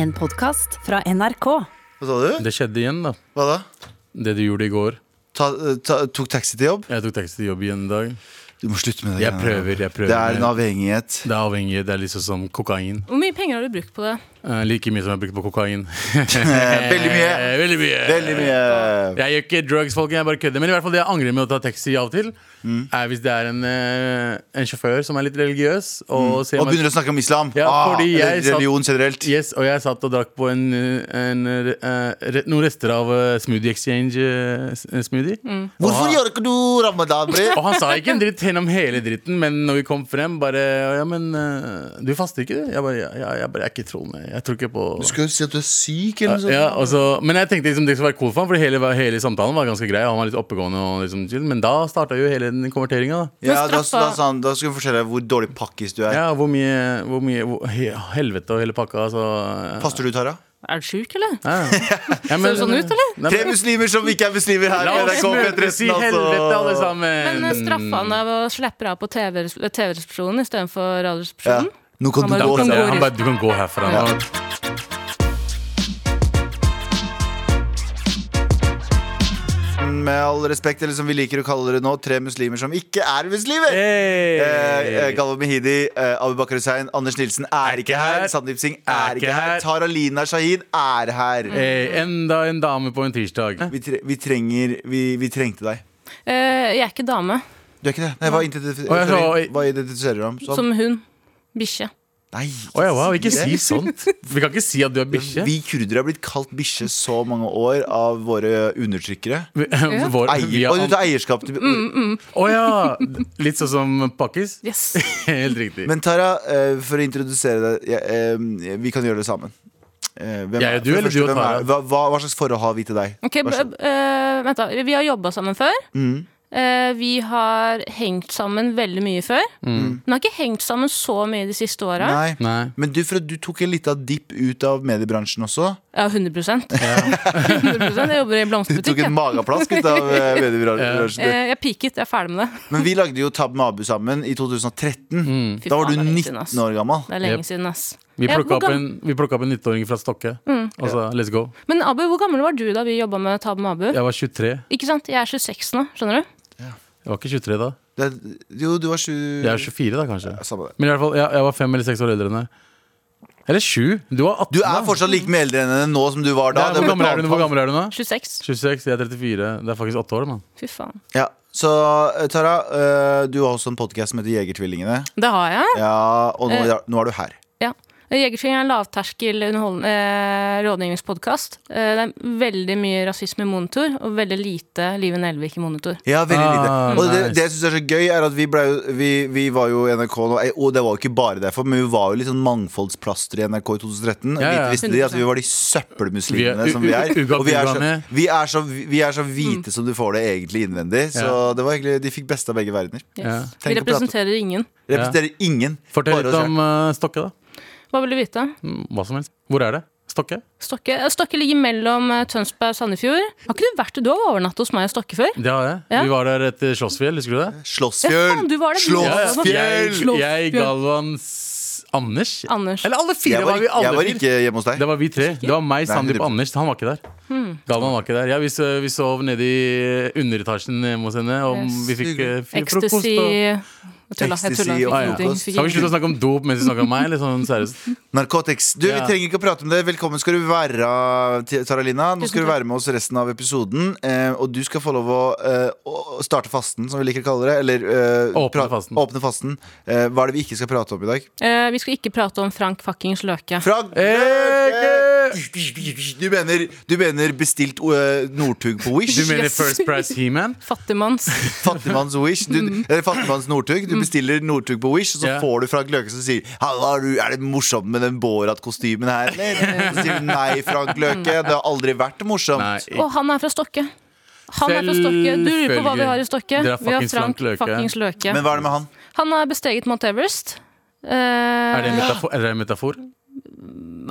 En podkast fra NRK. Hva sa du? Det skjedde igjen, da. Hva da? Det du gjorde i går. Ta, ta, tok taxi til jobb? Jeg tok taxi til jobb igjen i dag. Du må slutte med det. Jeg greiene der. prøver, jeg prøver. Det er en avhengighet. Det er avhengig. Det er litt sånn som kokain. Hvor mye penger har du brukt på det? Eh, like mye som jeg brukte på kokain. Veldig mye. Eh, Veldig mye. Veldig mye. Jeg gjør ikke drugs, folkens. Jeg bare kødder. Men i hvert fall det jeg angrer med å ta taxi av og til, Mm. er hvis det er en, eh, en sjåfør som er litt religiøs. Og, ser Mm. Og meg- begynner å snakke om islam. Ja, ah, fordi eller jeg satt- religion generelt. Yes, og jeg satt og drakk på en, en, eh, re- noen rester av eh, Smoothie Exchange eh, s- eh, smoothie. Hvorfor gjør ikke du ramadan, bre? Og han sa ikke en dritt gjennom hele dritten, men når vi kom frem, bare Ja, men eh, du faster ikke, du? Jeg bare, ja, ja, jeg bare jeg er ikke troende. Jeg tror ikke på Du skal jo si at du er syk, eller noe sånt. ja, og så- Men jeg tenkte liksom det skulle være cool for ham, for hele, hele samtalen var ganske grei. og Han var litt oppegående og liksom chill, Men da starta jo hele den konverteringa. Ja, Men da, da, straffa- sa han- da skal vi fortelle deg hvor dårlig pakkis du er. Ja, hvor mye, hvor mye hvor, he- Helvete og hele pakka, altså. Faster du, Tara? Er du sjuk, eller? Ja. Ja, men- Ser det sånn ut, eller? Nei, Tre men, muslimer som ikke er muslimer her. la i oss NRK møtes i P13, altså. helvete, alle sammen. Men eh, straffa han deg ved å slippe av på TV-resepsjonen istedenfor Ja. Radioresepsjonen? Nå kan Han du bare- gå. kan Ja, gå han ut. bare Du kan gå herfra. nå. Med all respekt, eller som vi liker å kalle det nå, tre muslimer som ikke er muslimer. Hey. Eh, eh, Galvan Mehidi, eh, Abu Bakar Hussein, Anders Nilsen er ikke her. her. Sandeep Singh er Er ikke ikke her. her. Tara Lina Shahid er her. Eh, enda en dame på en tirsdag. Vi, tre vi trenger Vi, vi trengte deg. Eh, jeg er ikke dame. Du er ikke det? Nei, hva, Å, jeg sa- identifiserer, hva identifiserer du deg om? Som? Som hun. Bikkje. Nei, Å ja, wow, ikke det. si sånt. Vi kan ikke si at du er bikkje. Vi kurdere har blitt kalt bikkje så mange år av våre undertrykkere. Vi- Altså, Vår, vi Eier, er og du an- tar eierskap til Mm, Å ja! Litt sånn som pakkis? Yes. Helt riktig. Men Tara, eh, for å introdusere deg jeg, eh, Vi kan gjøre det sammen. Eh, Hvem Jeg og du, for det eller du og hvem Tara? er- Hva, hva, hva slags forhold har vi til deg? Ok, Vær så god. Mm. b- eh, Vent, da. Vi har jobba sammen før. Eh, vi har hengt sammen veldig mye før. Men har ikke hengt sammen så mye de siste åra. Mm. Nei. Nei. Men du, for at du tok en liten dipp ut av mediebransjen også. Ja, 100 100 Jeg jobber i Du tok blomsterbutikk. en jeg. mageplask ut av eh, mediebransjen. Eh, jeg peaket. Jeg er ferdig med det. Men vi lagde jo Tab med Abu sammen i 2013. Mm. Fy Da var du faen, det er lenge 19 siden, ass. år gammel. Det er lenge Yep. siden, ass. Vi Ja, plukka hvor Mm. opp, gam- en- vi plukket opp en 19-åring fra Stokke. Og sa let's go. Men Abu, hvor gammel var du da vi jobba med Tab med Abu? Jeg var 23. Ikke sant? Jeg er 26 nå, skjønner du? Jeg var ikke 23 da. Det, jo, du var sju Jeg er 24 da, kanskje. Samme det. Men i hvert fall, jeg, jeg var fem eller seks år eldre enn deg. Eller sju. Du var 18. Du er fortsatt like mye eldre enn henne nå som du var da. Nei, hvor, Det ble gammel er du, hvor planfall. gammel er du nå? 26. 26. Jeg er 34. Det er faktisk åtte år, mann. Fy faen. Ja, så eh, Tara, eh, du har også en podcast som heter Jegertvillingene. Det har jeg. Ja, og nå, Eh. ja, nå er du her. Ja. Jegertvillingen er en lavterskel underholdende- eh, rådgivningspodkast. Eh, det er veldig mye rasisme i monitor, og veldig lite Live Nelvik i monitor. Ja, veldig lite. Ah, Og det, nice. det jeg syns er så gøy, er at vi, ble, jo- vi, vi var jo i NRK nå, eh, og det var jo ikke bare derfor, men vi var jo litt sånn mangfoldsplaster i NRK i 2013. Og Ja, ja. Lite visste de at vi var de søppelmuslimene Vi er som vi er. u- u- Og vi er, så, ugabugaene. vi, er så, vi er så hvite som du får det egentlig innvendig. Så Ja. det var egentlig, de fikk beste av begge verdener. Ja. Yes. Vi Tenk å prate. representerer ingen. Representerer ingen. Fortell bare litt oss om eh, Stokke, da. Hva vil du vite? Mm, Hva som helst. Hvor er det? Stokke? Stokke, eh, Stokke ligger mellom eh, Tønsberg og Sandefjord. Har ikke du vært Du har overnattet hos meg og Stokke før? Det har jeg. Ja. Vi var der etter Slåssfjell, husker du her. det? Ja, faen, Slåssfjøl! du var der. Slåssfjell! Jeg, Slåssfjell. jeg Galvan s- Anders. Anders. Eller alle fire Jeg var, var vi. ikke- jeg Alle var fire. ikke hjemme hos deg. Det var vi tre. Det var meg, Sandeep 100%. Anders. Han var ikke der. Hmm. Galvan var ikke der. Ja, vi, så- vi sov nede i eh, underetasjen hjemme hos henne, og Yes. vi fikk eh, fi- frokost. Ecstasy Og... Jeg tulla. Jeg tulla. Ecstasy og Fikk ingenting, frokost. fikk Kan vi slutte ingenting. å snakke om dop mens vi snakker om meg? Eller sånn seriøst Narcotics. Du, Vi Ja. trenger ikke å prate om det. Velkommen skal du være, T- Tara Lina. Nå skal Tusen du være med oss resten av episoden. Eh, og du skal få lov å, eh, å starte fasten, som vi liker å kalle det. Eller eh, Åpne pra- fasten. Åpne fasten. Eh, hva er det vi ikke skal prate om i dag? Eh, vi skal ikke prate om Frank fuckings Løke. Frank Eh, du, mener, du mener bestilt eh, Northug på Wish? Du mener Yes. First Price He-Man? Fattigmanns. Fattigmanns Wish? Du, Mm. eller Fattigmanns Northug? Du bestiller Northug på Wish, og så Ja. får du Frank Løke som sier Halla, er du- er det morsomt med den Borat-kostymen her, eller? Så sier du nei, Frank Løke, det har aldri vært morsomt. Nei. Og han er fra Stokke. Han er fra Stokke. Du lurer på hva vi har i Stokke? Dere har Vi har fuckings Frank Løke. Frank fuckings Løke. Men hva er det med han? Han har besteget Mount Everest. Eh, Er det en metafor? Er det en metafor?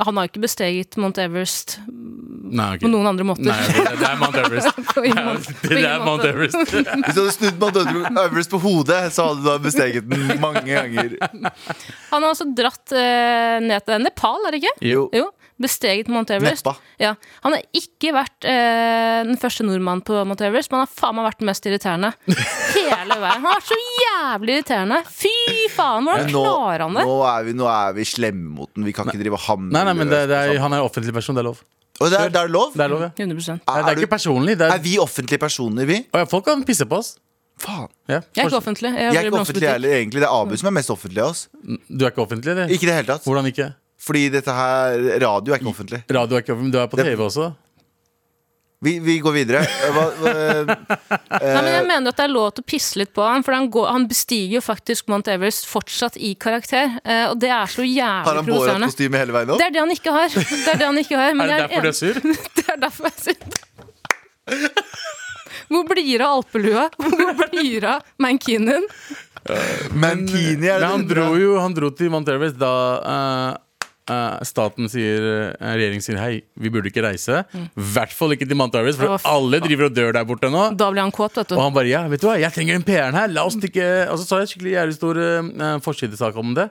han har ikke besteget Mount Everest Nei, ok. på noen andre måter. Nei, ok, det- det er Mount Everest. På ingen måte. På Det ingen er Mount måte. Everest. Hvis du hadde snudd Mount Everest på hodet, så hadde du da besteget den mange ganger. Han har altså dratt eh, ned til Nepal, er det ikke? Jo. Jo. besteget Mount Everest. Neppa. Ja. Han har ikke vært eh, den første nordmannen på Mount Everest, men han har faen meg vært den mest irriterende hele veien. Han har vært så jævlig irriterende! Fy faen, hvordan Men nå, klarer han det? nå, er vi, nå er vi slemme mot den. Vi kan ikke drive og hamre Nei, nei, men det, det løs er, på sånn. han er offentlig person. Det er lov. Og det er, det er lov? Det er lov, ja. Nei, 100 det Er er du- ikke personlig. Det Er er, vi offentlige personer, vi? Å ja, folk kan pisse på oss. Faen. Ja. Jeg er ikke Forst- offentlig. Jeg Jeg er jobber i ikke offentlig blomsterbutikk. heller, egentlig. Det er Abu som er mest offentlig av oss. Du er ikke offentlig, eller? Ikke i det hele tatt. Hvordan ikke? Fordi dette her Radio er ikke offentlig. Radio er ikke offentlig, men du er på Det- TV også. Vi, vi går videre. Eh, Hva, hva, Nei, men jeg mener at det er lov til å pisse litt på han, for han, går, han bestiger jo faktisk Mount Everest fortsatt i karakter, eh, og det er så har jævlig han provoserende. Borat-kostyme hele veien opp? Det er det han ikke har. Det er det han ikke har. men Er det jeg derfor du er enig- sur? Det er derfor jeg sitter Hvor blir det av alpelua? Hvor blir det av mankinen? Mankini er Men det han det dro heter. jo han dro til Mount Everest da eh, eh, staten sier eh, Regjeringen sier hei, vi burde ikke reise. Mm. I hvert fall ikke til Mount Everest, for Å, faen. alle driver og dør der borte nå. Da blir han kåt, vet du. Og han bare ja, vet du hva, jeg trenger den PR-en her. La oss stikke Og så sa jeg skikkelig jævlig stor eh, forsidesak om det.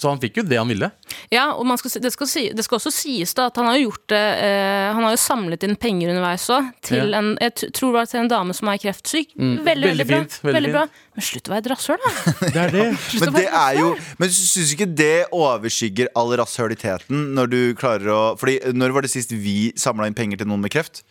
Så han fikk jo det han ville. Ja, og man skal, si- det, skal si, det skal også sies da at han har jo gjort det eh, Han har jo samlet inn penger underveis òg, til Ja. Mm. en jeg t- tror det var til en dame som er kreftsyk. Veldig, Veldig veldig, bra. fint, veldig bra. Men slutt å være et rasshøl, da! Det er det. Slutt å Men være det et rasshøl. er jo Men syns ikke det overskygger all rasshølitheten når du klarer å Fordi eh, når var det sist vi samla inn penger til noen med kreft?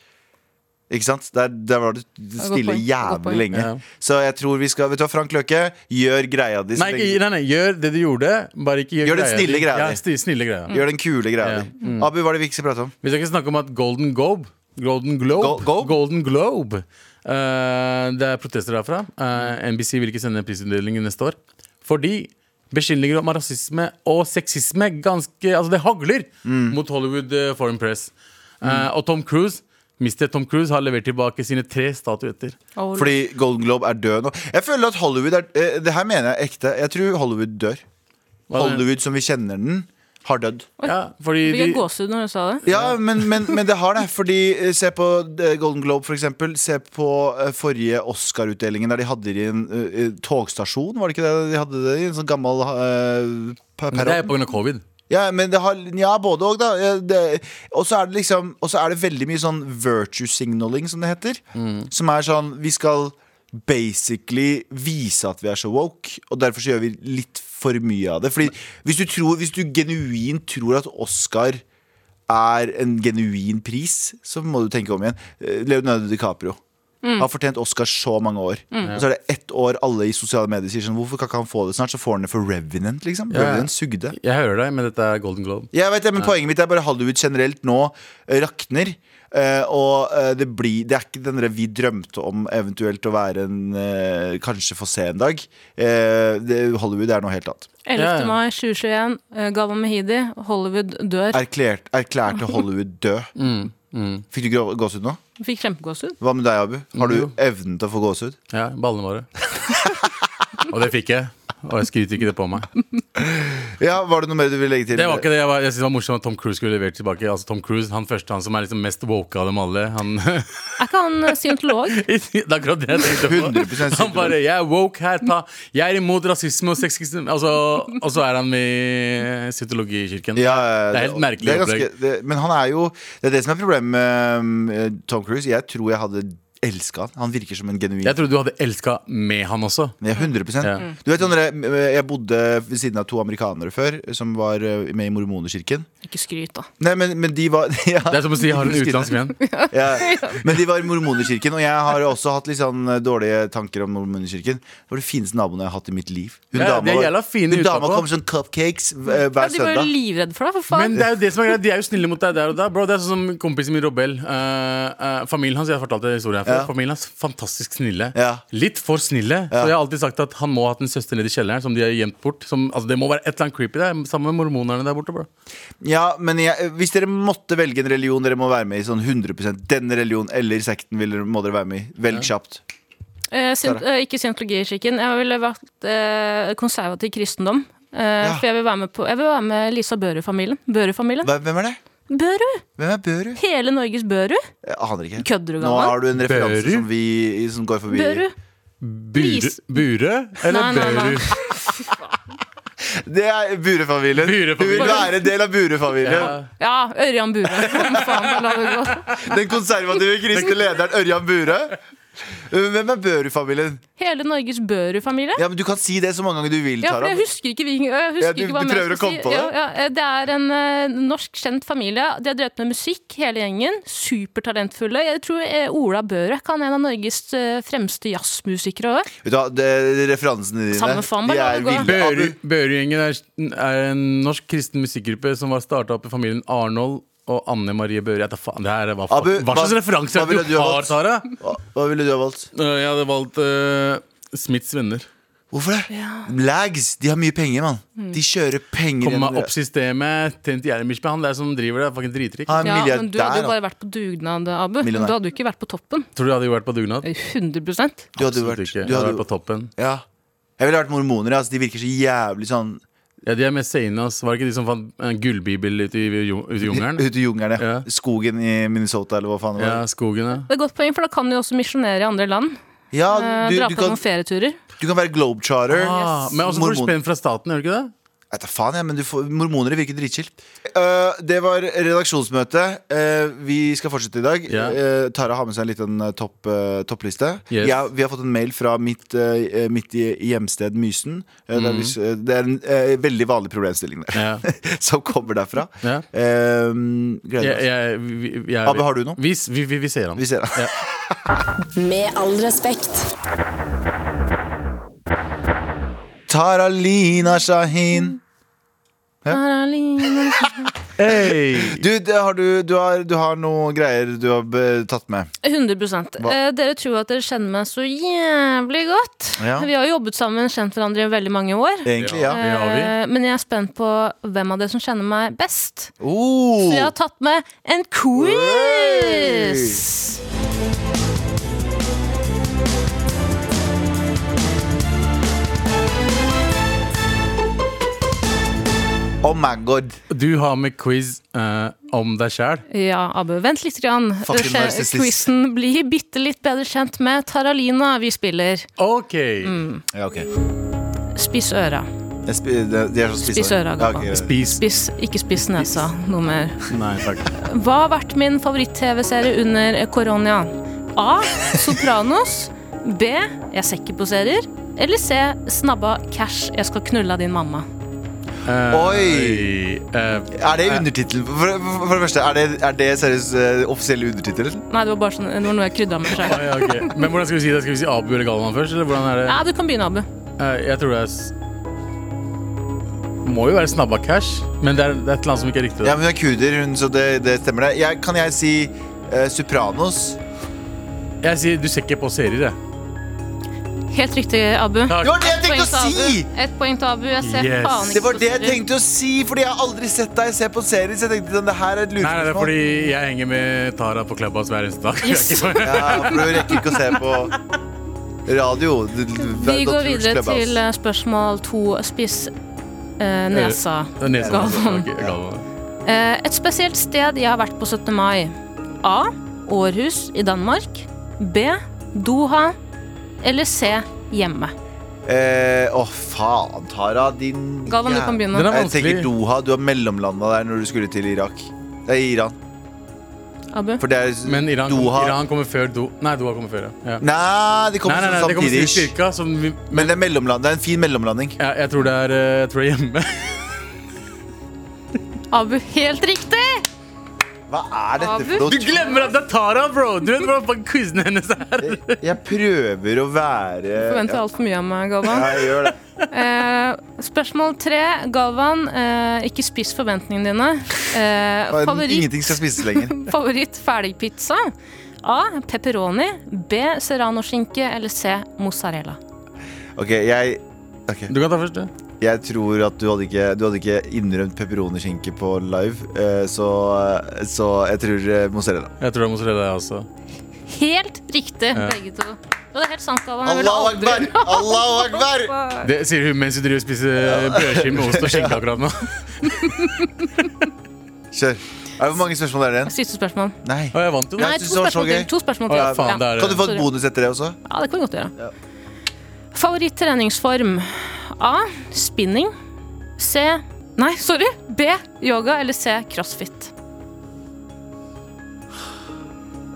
Ikke sant? Der, der var det stille poeng, godt jævlig poeng. lenge. Ja. Så jeg tror vi skal Vet du hva, Frank Løke, gjør greia di. så Nei, ikke, lenge- nei, nei, gjør det du gjorde, bare ikke gjør, Gjør den greia snille di. greia Ja, di. sti- snille Mm. greia. Gjør den kule greia di. Mm. Abu, hva er det vi ikke skal prate om? Vi skal ikke snakke om at Golden Globe Golden Globe, Go- Globe? Golden Globe. eh, Det er protester derfra. Eh, NBC vil ikke sende prisutdelingen neste år. Fordi beskyldninger om rasisme og sexisme ganske, altså det hagler mot Hollywood eh, Foreign Press. Eh, og Tom Cruise Mr. Tom Cruise har levert tilbake sine tre statuetter. Å, Fordi Golden Globe er død nå. Jeg føler at Hollywood er eh, Det her mener jeg ekte. Jeg tror Hollywood dør. Hollywood som vi kjenner den, har dødd. Ja, fordi Fikk jeg de, gåsehud når du sa det? Ja, men, men, men det har det. Fordi eh, Se på eh, Golden Globe, for eksempel. Se på eh, forrige Oscar-utdelingen, der de hadde det i en eh, eh, togstasjon. Var det ikke det de hadde det i? En sånn gammel eh, per- Men det er perrong. pga. covid. Ja, men det har, ja, både òg, da. Eh, det- Og så er det liksom Og så er det veldig mye sånn virtue signaling, som det heter. Mm. Som er sånn Vi skal basically vise at vi er så woke, og derfor så gjør vi litt for mye av det. Fordi hvis du, tror, hvis du genuint tror at Oscar er en genuin pris, så må du tenke om igjen. Eh, Leonardo DiCaprio. Har fortjent Oscar så mange år. Og så er det ett år alle i sosiale medier sier sånn Hvorfor kan ikke han få det snart? Så får han det for Revenant, liksom. Ja, ja. Revenant sugde. Jeg hører deg, men dette er Golden Globe. Jeg vet det, men Poenget mitt er bare Hollywood generelt nå eh, rakner. eh, og eh, det, blir, det er ikke den der vi drømte om eventuelt å være en eh, Kanskje få se en dag. Eh, det, Hollywood er noe helt annet. 11. Ja. mai 2021. eh, Galvan Mehidi, Hollywood dør. Erklært, erklærte Hollywood død. Mm, Fikk du grå- gåsehud nå? Fikk kjempegåsehud. Hva med deg, Abu? Har du Jo. evnen til å få gåsehud? Ja, ballene våre. og det fikk jeg. Og jeg skryter ikke det på meg. Ja, Var det noe mer du ville legge til? Det var ikke det. Jeg, var, jeg synes det var morsomt at Tom Cruise skulle levert tilbake. Altså Tom Cruise, Han første, han som er liksom mest woke av dem alle. Han, det Er ikke han eh, scientolog? er akkurat det jeg tenkte på. 100% Han bare 'Jeg er woke her, ta Jeg er imot rasisme og sexisme. Altså, og så er han med i Scientologikirken. Ja, Det er helt merkelig det er opplegg. ganske- det, Men han er jo Det er det som er problemet med um, Tom Cruise. Jeg tror jeg hadde elska han. Han virker som en genuin Jeg trodde du hadde elska med han også. Ja, 100 Ja. Mm. Du vet, André, Jeg bodde ved siden av to amerikanere før, som var eh, med i mormonerkirken. Ikke skryt, da. Nei, men, men de var ja, Det er som å si 'har en utenlandsk venn'. ja. Men de var i mormonerkirken, og jeg har også hatt litt sånn eh, dårlige tanker om mormonerkirken. Det var det fineste naboen jeg har hatt i mitt liv. Hun Ja, de er var- jævla fine hun dama utapå. kom sånn cupcakes eh, Ja, hver de var jo søndag. livredde for deg, for Men faen. det er jo det som er greit, de er jo snille mot deg der og da. Bro, det er sånn som kompisen min Robel. eh, eh, familien hans jeg har fortalt deg historien her før Ja. Familien hans fantastisk snille. Ja. Litt for snille. Så jeg har alltid sagt at han må ha hatt en søster nede i kjelleren som de har gjemt bort. Som, altså, det må være et eller annet creepy der, sammen med mormonerne der borte. bro Ja, men jeg, eh, hvis dere måtte velge en religion dere må være med i, sånn 100 den religionen eller sekten vil, dere- må dere være med i. Velg kjapt. Eh, scient- eh, ikke scientologikirken. Jeg ville valgt eh, konservativ kristendom. Eh, Ja. For jeg vil være med, på, jeg vil være med Lisa Børud-familien. Børud-familien? Hva- Hvem er det? Børud! Hvem er Børud? Hele Norges Børud. Jeg aner ikke. Kødder du, Nå gammel? har du en referanse Børu? som, vi, som går forbi. Børud. Bure, Please. bure eller Nei, nei, nei. Børud? Det er burefamilien. Burefamilien. Du vil være en del av burefamilien. Ja. Ja, Ørjan Bure. Kom faen, da la det gå. Den konservative kristne lederen Ørjan Bure. Hvem er Børu-familien? Hele Norges Børu-familie. Ja, men Du kan si det så mange ganger du vil. Ja, for Tara. jeg husker ikke hvilken jeg husker Ja, du- ikke hva du mer prøver jeg skal å komme si. på det? Ja, ja, eh, det er en eh, norsk kjent familie. De har drevet med musikk, hele gjengen. Supertalentfulle. Jeg tror eh, Ola Børek han er en av Norges eh, fremste jazzmusikere òg. Vet du hva, det, Referansene dine Samme faen, bare de la er det ville. gå. Børu- Abu- Børu-gjengen er, er en norsk kristen musikkgruppe som var starta opp i familien Arnold og Anne Marie Børu. Jeg tar faen, det her er hva, Abu, hva slags hva- referanser hva er det ville du du ha har, valgt? Tara? Hva, hva ville du ha valgt? Øh, Jeg hadde valgt øh, Smiths venner. Hvorfor det? Lags. De har mye penger, mann. Mm. De kjører penger. Kom meg gjennom- opp systemet. Tjent Jeremic med han der som driver det. er Fucking dritrik. Han Ja, er men du hadde milliardær. jo da. bare vært på dugnad, Abu. Du Millionær. hadde jo ikke vært på toppen. Tror du jeg hadde vært på dugnad? 100 Du hadde jo Absolutt vært, ikke. du Jeg hadde hadde, vært på toppen. ja. Jeg ville vært mormoner. Altså, de virker så jævlig sånn Ja, de er mest sane, ass. Var det ikke de som fant en gullbibel ute i, jung- ute i jungelen? ute i jungelen. Ja. Ja. Skogen i Minnesota, eller hva faen det Ja, var. skogen, ja. Det er et godt poeng, for da kan du jo også misjonere i andre land. Ja, Eh, du, dra du, på kan, noen ferieturer. du kan være globetrotter. Ah, men også får du Mormon. spenn fra staten, gjør du ikke det? Jeg vet da faen, jeg, men du får, mormonere virker dritchill. Eh, det var redaksjonsmøte. Eh, vi skal fortsette i dag. Ja. Eh, Tara har med seg en liten eh, topp, eh, toppliste. Yes. Jeg, vi har fått en mail fra mitt, eh, mitt i- hjemsted Mysen. Eh, Mhm. det, er, hvis- eh, det er en eh, veldig vanlig problemstilling der, Ja. som kommer derfra. Ja. Eh, gleder Jeg, oss. jeg, vi, jeg, Abu, har du noe? Vi, vi, vi, vi ser han. Vi ser deg. Med all respekt. Tara Lina Shahin. Aline. Hey! Du, det har du, du, har, du har noe greier du har eh, tatt med. 100 Hva? eh, Dere tror at dere kjenner meg så jævlig godt. Ja. Vi har jo jobbet sammen, kjent hverandre i veldig mange år. Egentlig, ja. Ja. det har vi. Eh, Men jeg er spent på hvem av dere som kjenner meg best. Oh. Så jeg har tatt med en quiz! oh my god. Du har med quiz eh, om deg sjæl. Ja, Abu, vent litt. Grann. Fucking Skje- narcissist. Quizen blir bitte litt bedre kjent med Taralina vi spiller. OK! Ja, ok Spiss øra. Jeg spi- De de er så spisse. Spisse øra, Galvan. ok, greit. Spis. Spiss, ikke spiss nesa. Noe mer. Nei, takk. Hva har vært min favoritt-TV-serie under korona? A. Sopranos. B. Jeg ser ikke på serier. Eller C. Snabba cash. Jeg skal knulla din mamma. Eh, Oi. eh, Er det undertittelen? For, for, for det første, er det, er det seriøst eh, offisiell undertittel? Nei, det var bare sånn, det var noe jeg krydda med sjøl. oi, ok. Men hvordan skal vi si det? Skal vi si Abu eller Galvan først? Eller hvordan er det? Ja, du kan begynne, Abu. Eh, jeg tror det er s Må jo være snabba cash, men det er, det er et eller annet som ikke er riktig. Ja, men hun er kurder, hun, så det, det stemmer det. Jeg, kan jeg si eh, Sopranos? Jeg sier du ser ikke på serier, jeg. Helt riktig, Abu. Det var det jeg tenkte å Abu. si! Ett poeng til Abu. Jeg ser Yes. faen ikke Det var det jeg serier. tenkte å si, fordi jeg har aldri sett deg se på serier. Så jeg tenkte det her er et Nei, nei, det er lurespørsmål. fordi jeg henger med Tara på Clubhouse hver eneste dag. Yes. Det er ikke Ja, for du rekker ikke å se på radio. Du- du- Vi går Dr. videre Clubhouse. til eh, spørsmål to. Spiss eh, nesa. Det er nesen. Galvan. Ok, Galvan. Eh, Et spesielt sted jeg har vært på 17. mai. A. Århus i Danmark. B. Doha. Eller C. Hjemme. Eh, Å, faen, Tara. Din Galvan, du jæv- kan Den begynne. er Jeg vanskelig. tenker Doha, du har mellomlanda der når du skulle til Irak. Det er Iran. Abu. For det er Men Iran, Doha Iran kommer før Do... Nei, Doha kommer før, ja. ja. Nei, de Nei, kommer nei, nei, det sånn kommer samtidig. til cirka. Som vi, men det er, mellomland, det er en fin mellomlanding. jeg, jeg tror det er eh, Jeg tror det er hjemme. Abu, helt riktig! Hva er dette for Du noe? glemmer at det er Tara, bro! Du vet hvordan fucking quizen hennes er. Jeg prøver å være Forventer altfor mye av meg, Galvan. Ja, jeg gjør det. Eh, spørsmål tre. Galvan, eh, ikke spiss forventningene dine. Eh, Bare favoritt, Ingenting skal spises lenger. favoritt ferdigpizza? A. Pepperoni. B. Serranoskinke. Eller C. Mozzarella. Ok, jeg ok. Du kan ta først, du. Jeg tror at du hadde ikke, du hadde ikke innrømt pepperoniskinke på live, eh, så, så jeg tror eh, mozzarella. Jeg tror det er mozzarella, jeg også. Helt riktig, Ja. begge to. Og det er helt sant, Galvan. Jeg ville Allahu aldri- akbar! Allahu akbar! Det sier hun mens hun driver og spiser brødskive med ost og skinke akkurat nå. Kjør. Er det Hvor mange spørsmål er det igjen? Siste spørsmål. Nei. Og jeg vant jo. Ja. da. Nei, synes det to var så spørsmål, gøy. til. to spørsmål Å, til. ja, faen, det ja. er Kan du få Sorry. et bonus etter det også? ja, det kan vi godt gjøre. Ja. Favoritt treningsform? A. Spinning. C. Nei, sorry. B. Yoga eller C. Crossfit.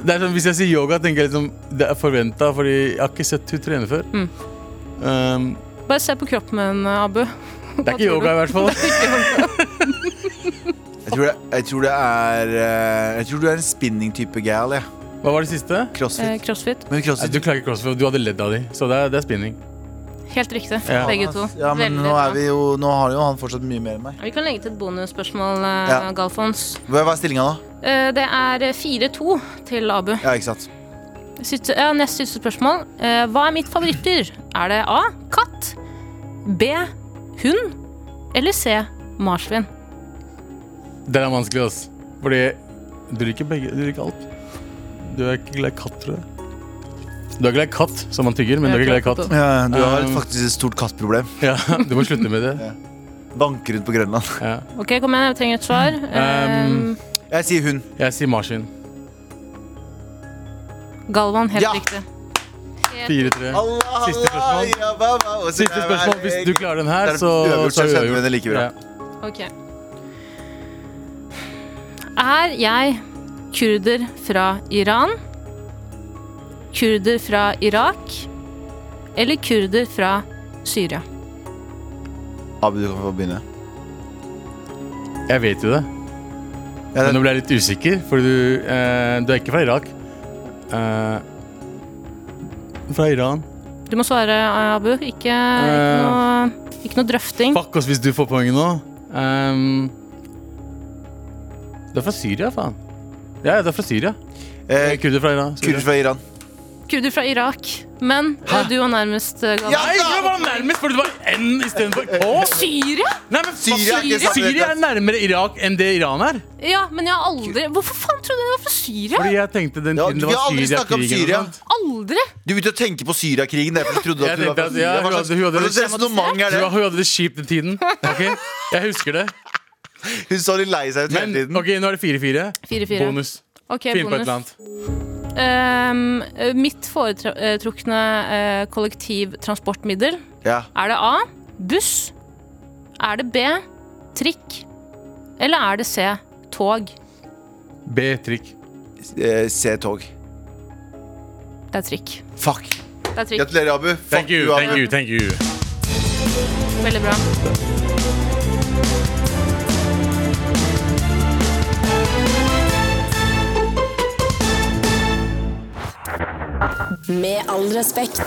Det er sånn, Hvis jeg sier yoga, tenker jeg liksom Det er forventa, fordi jeg har ikke sett hun trene før. Um, Bare se på kroppen min, Abu. Eh, det er ikke yoga, i hvert fall. Jeg tror det, jeg tror det er eh, Jeg tror du er en spinning-type gal, jeg. Hva var det siste? Eh, Crossfit. crossfit. Men Nei, crossfit du klager crossfit. Du hadde ledd av de, så det er, det er spinning. Helt riktig. Ja. Begge to. Ja, men Veldig nå, bra. er vi jo, nå har jo han fortsatt mye mer enn meg. Vi kan legge til et bonusspørsmål, eh, Ja. Galfons. Hva hva er stillinga nå? Eh, Det er 4-2 til Abu. Ja, ikke sant. Siste, ja, nest siste spørsmål. Eh, Hva er mitt favorittdyr? Er det A. Katt. B. Hund. Eller C. Marsvin. Den er vanskelig, ass. Fordi du liker begge. Du liker alt. Du er ikke glad i katt, tror jeg. Du er ikke glad i katt, som man tygger, men du er ikke glad i katt. Ja, du har Um, faktisk et stort kattproblem. Ja, du må slutte med det. Vanker rundt på Grønland. Ja. Ok, kom igjen, jeg trenger et svar. Um, Eh, Jeg sier hun. Jeg sier marsvin. Galvan, helt ja. riktig. Helt- 4-3. Allah, Siste spørsmål. ja, ba, ba, og så- Siste spørsmål. eh, Hvis du klarer den Det her, er så, uavgjort, så så er sender vi den like bra. Ja. Ok. Er jeg kurder fra Iran? Kurder fra Irak? Eller kurder fra Syria? Abu, du kan få begynne. Jeg vet jo det, Ja, men det, nå ble jeg litt usikker, for du, eh, du er ikke fra Irak. Eh, fra Iran. Du må svare, Abu. Ikke, ikke, Eh, noe, ikke noe drøfting. Fuck oss hvis du får poenget nå. Ehm, du er fra Syria, faen. Ja, du er fra Syria. eh, Kurder fra Iran. Kurder fra Iran. Kurder fra Irak. Men du var nærmest, eh, Galvan. Ja, Nei, det var nærmest, for det var N istedenfor K. Syria? Nei, men faen, Eh, Syria er ikke Syria- samme Syria er nærmere Irak enn det Iran er. Ja, men jeg har aldri Hvorfor faen trodde jeg det var fra Syria? Fordi jeg tenkte den Ja, tiden vi det har var aldri snakket om Syria-krigen. Syria. og sånt. Aldri! Du begynte å tenke på Syriakrigen. Derfor du trodde at Jeg du var tenkte fra at- ja, Syria. Hva hun slags hadde- hun hadde- resonnement er Du det? hun hadde det kjipt den tiden. ok? Jeg husker det. Hun så litt lei seg ut hele Men tiden. ok, nå er det 4-4. 4-4. Bonus. Ok, Finn på et bonus. eller annet. Ehm, mitt foretrukne eh, kollektivtransportmiddel Ja. Er det A. Buss? Er det B. Trikk? Eller er det C. Tog? B-trikk. Eh, Se tog. Det er trikk. Fuck. Det er trikk. Gratulerer, Abu. Thank Fuck you, you, thank Abu. you, thank you. Veldig bra. Med all respekt.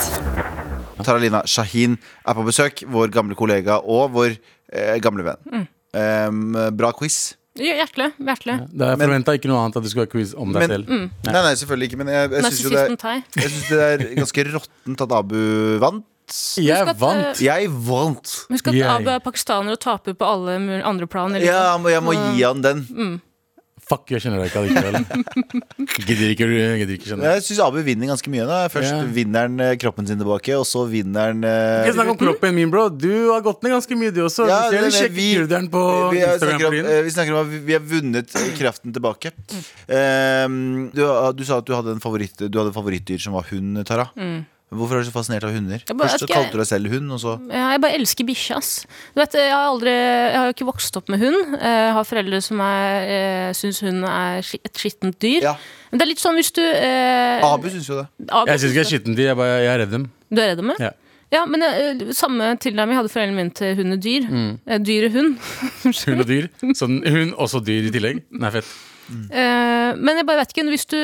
Taralina Shahin er på besøk. Vår gamle kollega og vår eh, gamle venn. Eh, bra quiz. Hjertelig. hjertelig. Det er forventa ikke noe annet at du skulle ha quiz om deg Men- selv. Mm. Nei. nei, selvfølgelig ikke, men jeg, jeg syns jo det, Narsissisten Tai. jeg synes det er ganske råttent at Abu vant. Husk Jeg at, vant. eh, Jeg vant! Husk at Jeg- Abu er pakistaner og taper på alle mul- andre plan. i livet. Ja, jeg må, jeg må gi han den. Fuck, jeg kjenner deg ikke allikevel. Gidder ikke, gidder ikke kjenne deg. Jeg syns Abu vinner ganske mye. Da. Først Ja. vinner han eh, kroppen sin tilbake, og så vinner han eh, Ikke snakk om kroppen min, bro. Du har gått ned ganske mye, du også. Ja, du ser det- du det- sjekker vi- kurderen på vi, vi, Instagram. snakker om, på din. eh, vi snakker om at vi- vi har vunnet eh, kraften tilbake. Eh, du, du sa at du hadde, en favoritt, du hadde favorittdyr som var hund, Tara. Hvorfor er du så fascinert av hunder? bare- Først så Mm. jeg- kalte du deg selv hund, og så Ja, Jeg bare elsker bikkje, ass. Du vet, jeg har, aldri, jeg har jo ikke vokst opp med hund. Jeg har foreldre som er- eh, syns hund er ski- et skittent dyr. Ja. Men det er litt sånn hvis du eh, Abu syns jo det. Abu Jeg syns ikke jeg er synes det. skitten til, jeg, bare, jeg er redd dem. Du er redd dem? Ja. Ja, men eh, samme tilnærming hadde foreldrene mine til hund og dyr. Mm. Eh, Dyr og hund. Hund og dyr. Sånn, hun også dyr i tillegg. Nei, fett. Eh, men jeg bare vet ikke, hvis du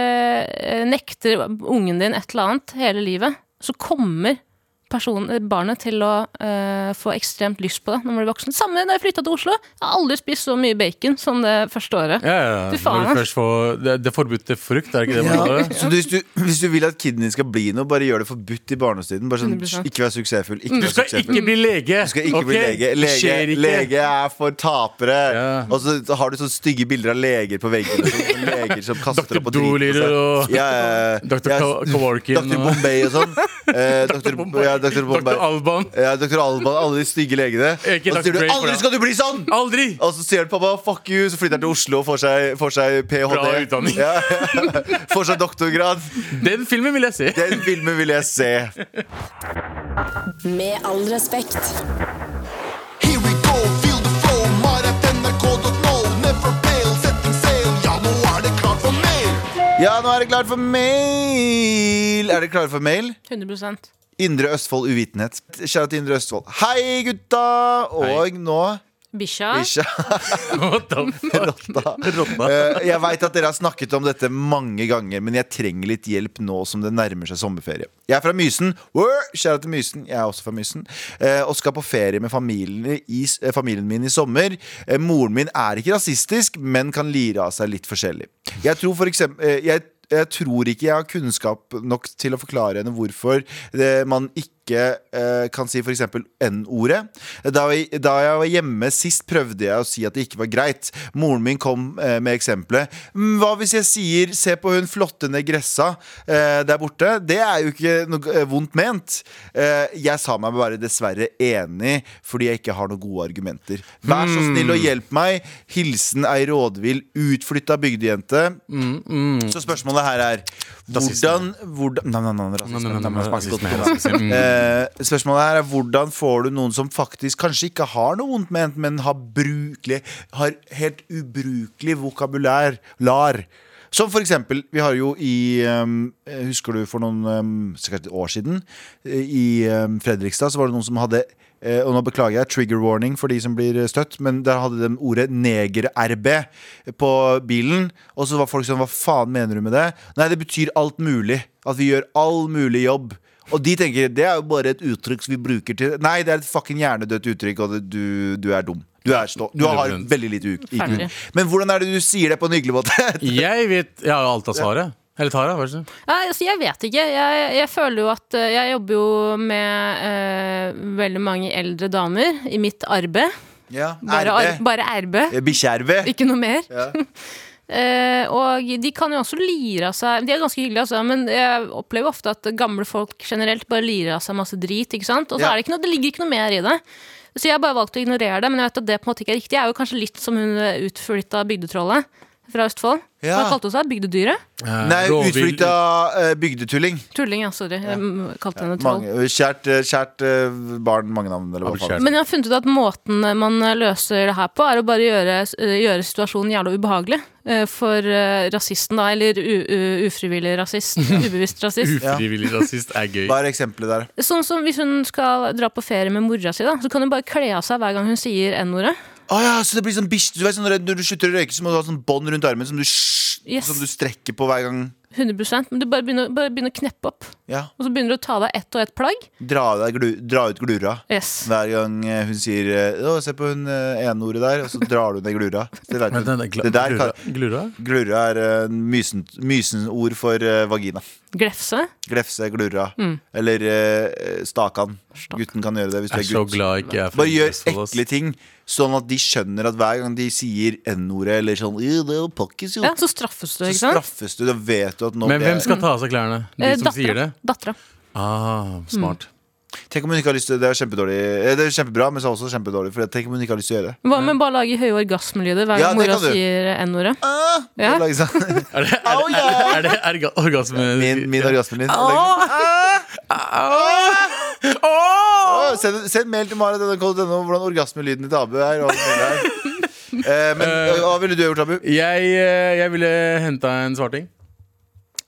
eh, nekter ungen din et eller annet hele livet, så kommer personen, eh, barnet til å eh, få ekstremt lyst på det når man blir voksen. Samme da jeg flytta til Oslo. Jeg har aldri spist så mye bacon som det første året. Ja, ja, Fy ja. faen, Når du ass. først får det, det forbudte frukt, er det ikke det man kaller det? Så du, hvis, du, hvis du vil at kiden din skal bli noe, bare gjør det forbudt i barnestiden. Bare sånn, 100%. ikke vær suksessfull. Ikke Du vær skal suksessfull. ikke bli lege! Du skal ikke bli ok? lege. Det Lege, skjer ikke. lege er for tapere. Ja. Og så har du sånne stygge bilder av leger på veggene. sånn leger som kaster Dr. opp og driter Dolittle på og seg. Ja, ja, ja. Dr. Ja, Ka- Kaworkin Dr. og Bombay og sånn. Eh, Dr. Bombay. Ja, Dr. Dr. Bombay. Alban. Ja, Dr. Alban, alle de stygge legene. Og Ikke så Dr. sier du Dre for 'aldri det. skal du bli sånn'! Aldri! Og så sier han pappa 'fuck you', så flytter han til Oslo og får seg, får seg ph.d. Bra utdanning. Ja, ja. Får seg doktorgrad. Den filmen vil jeg se. Den filmen vil jeg se. Med all respekt. Here we go Ja, nå er det klart for mail! Er dere klare for mail? 100 Indre Østfold Uvitenhet. Kjære til Indre Østfold. Hei, gutta! Og nå Bikkja. Bikkja. What the fuck? Rotta. Rotta. Eh, Jeg veit at dere har snakket om dette mange ganger, men jeg trenger litt hjelp nå som det nærmer seg sommerferie. Jeg er fra Mysen. Wør! Kjære til Mysen. Jeg er også fra Mysen. Eh, Og skal på ferie med familien, i, s- eh, familien min i sommer. Eh, Moren min er ikke rasistisk, men kan lire av seg litt forskjellig. Jeg tror for eksempel eh, jeg, jeg tror ikke jeg har kunnskap nok til å forklare henne hvorfor eh, man ikke ikke eh, kan si f.eks. N-ordet. Da, jeg- da jeg var hjemme sist, prøvde jeg å si at det ikke var greit. Moren min kom eh, med eksempelet. «Mm, Hva hvis jeg sier 'se på hun flotte negressa eh, der borte'? Det er jo ikke noe eh, vondt ment. Eh, jeg sa meg bare dessverre enig, fordi jeg ikke har noen gode argumenter. Vær så snill og hjelp meg. Hilsen ei rådvill, utflytta bygdejente. Så spørsmålet her er hvordan, hvordan Nei, nei, nei, rasisme. Nei, nei, nei, Nei, men smak rasisme, godt på rasisme. Mm. det. Eh, Spørsmålet her er hvordan får du noen som faktisk kanskje ikke har noe vondt ment, men har, brukelig, har helt ubrukelig vokabulær, lar. Som for eksempel, vi har jo i ehm, Husker du for noen ehm, sikkert et år siden? eh, I ehm, Fredrikstad så var det noen som hadde eh, og nå beklager jeg, trigger warning for de som blir eh, støtt, men der hadde de ordet neger-RB på bilen. Og så var folk sånn, hva faen mener du med det? Nei, det betyr alt mulig. At vi gjør all mulig jobb. Og de tenker det er jo bare et uttrykk som vi bruker til Nei, det er et fucking hjernedødt uttrykk, og det, du, du er dum. Du, er stå, du har veldig lite u- IQ. Ferdig. Men hvordan er det du sier det på en hyggelig måte? Jeg vet Jeg har jo alt av svaret. Eller Tara, vær så snill. Nei, altså, jeg vet ikke. Jeg, jeg føler jo at eh, Jeg jobber jo med eh, veldig mange eldre damer i mitt arbeid. ja, Bare, ar RB. bare RB, Bikkjerve. ikke noe mer. Ja. Eh, og de kan jo også lire av seg De er ganske hyggelige, altså, men jeg opplever ofte at gamle folk generelt bare lirer av seg masse drit. Ikke sant? Og så Ja. er det, ikke noe, det ligger ikke noe mer i det. Så jeg har bare valgt å ignorere det, men jeg vet at det på en måte ikke er riktig. Jeg er jo kanskje litt som hun eh, utflytta bygdetrollet fra Østfold. Ja. Hva kalte hun seg? Bygdedyret? Eh, Nei, rovvilt- utflytta eh, bygdetulling. Tulling, ja. Sorry. Jeg mm, kalte henne troll. Mange, kjært, eh, kjært eh, barn, mange navn. Eller Har hva du faen. kjært? Men jeg har funnet ut at måten man løser det her på, er å bare gjøre, eh, gjøre situasjonen jævla ubehagelig eh, for eh, rasisten, da. Eller u, u, ufrivillig rasist. Ubevisst rasist. Ufrivillig rasist er gøy. Hva er eksempelet der? Sånn som Hvis hun skal dra på ferie med mora si, da, så kan hun bare kle av seg hver gang hun sier n-ordet. Å ja, så det blir sånn bikkje Du vet sånn, når du- Når du slutter å røyke, så må du ha sånn bånd rundt armen som du, sh- Yes. som du strekker på hver gang. 100 Men du bare begynner, bare begynner å kneppe opp. Ja, Og så begynner du å ta av deg ett og ett plagg. Dra, av deg glu, dra ut glura. Yes. Hver gang eh, hun sier eh, Å, se på hun eh, enordet der, og så drar du ned glura. Det, vet Men hun. den er gla- det der kan, glura- Glura? glura er eh, mysen, mysenord for eh, vagina. Glefse. Glefse, glura. Eller eh, Mm. stakan. Gutten kan gjøre det hvis du er Jeg er så gutt. glad ikke jeg er fra Bare gjør Østfold, ass. ekle ting, sånn at de skjønner at hver gang de sier n-ordet eller sånn «Øh, det er jo pakkis, jo. Ja, så straffes du, Så ikke sant? straffes du. Da vet du at nå Men ble- hvem skal ta av seg klærne? De Eh, som sier det? Dattera. Hmm. Ah, smart. Tenk om hun ikke har lyst til Det er kjempedårlig eh, Det er kjempebra, men så er det også kjempedårlig. For tenk om hun ikke har lyst til å gjøre det. Hva med bare lage høye orgasmelyder hver Ja, gang det mora kan du. sier n-ordet? Ah, Ja. Lage sånn. Er det, er, Au, det- ja. er, det, er det orgasme... Min, min orgasmelyd. Ah! Å, Send, send mail til Mara denne koden, denne, om hvordan orgasmelyden til Abu er. Og, alt mulig her. eh, men eh, hva ville du gjort, Abu? Jeg, eh, jeg ville henta en svarting.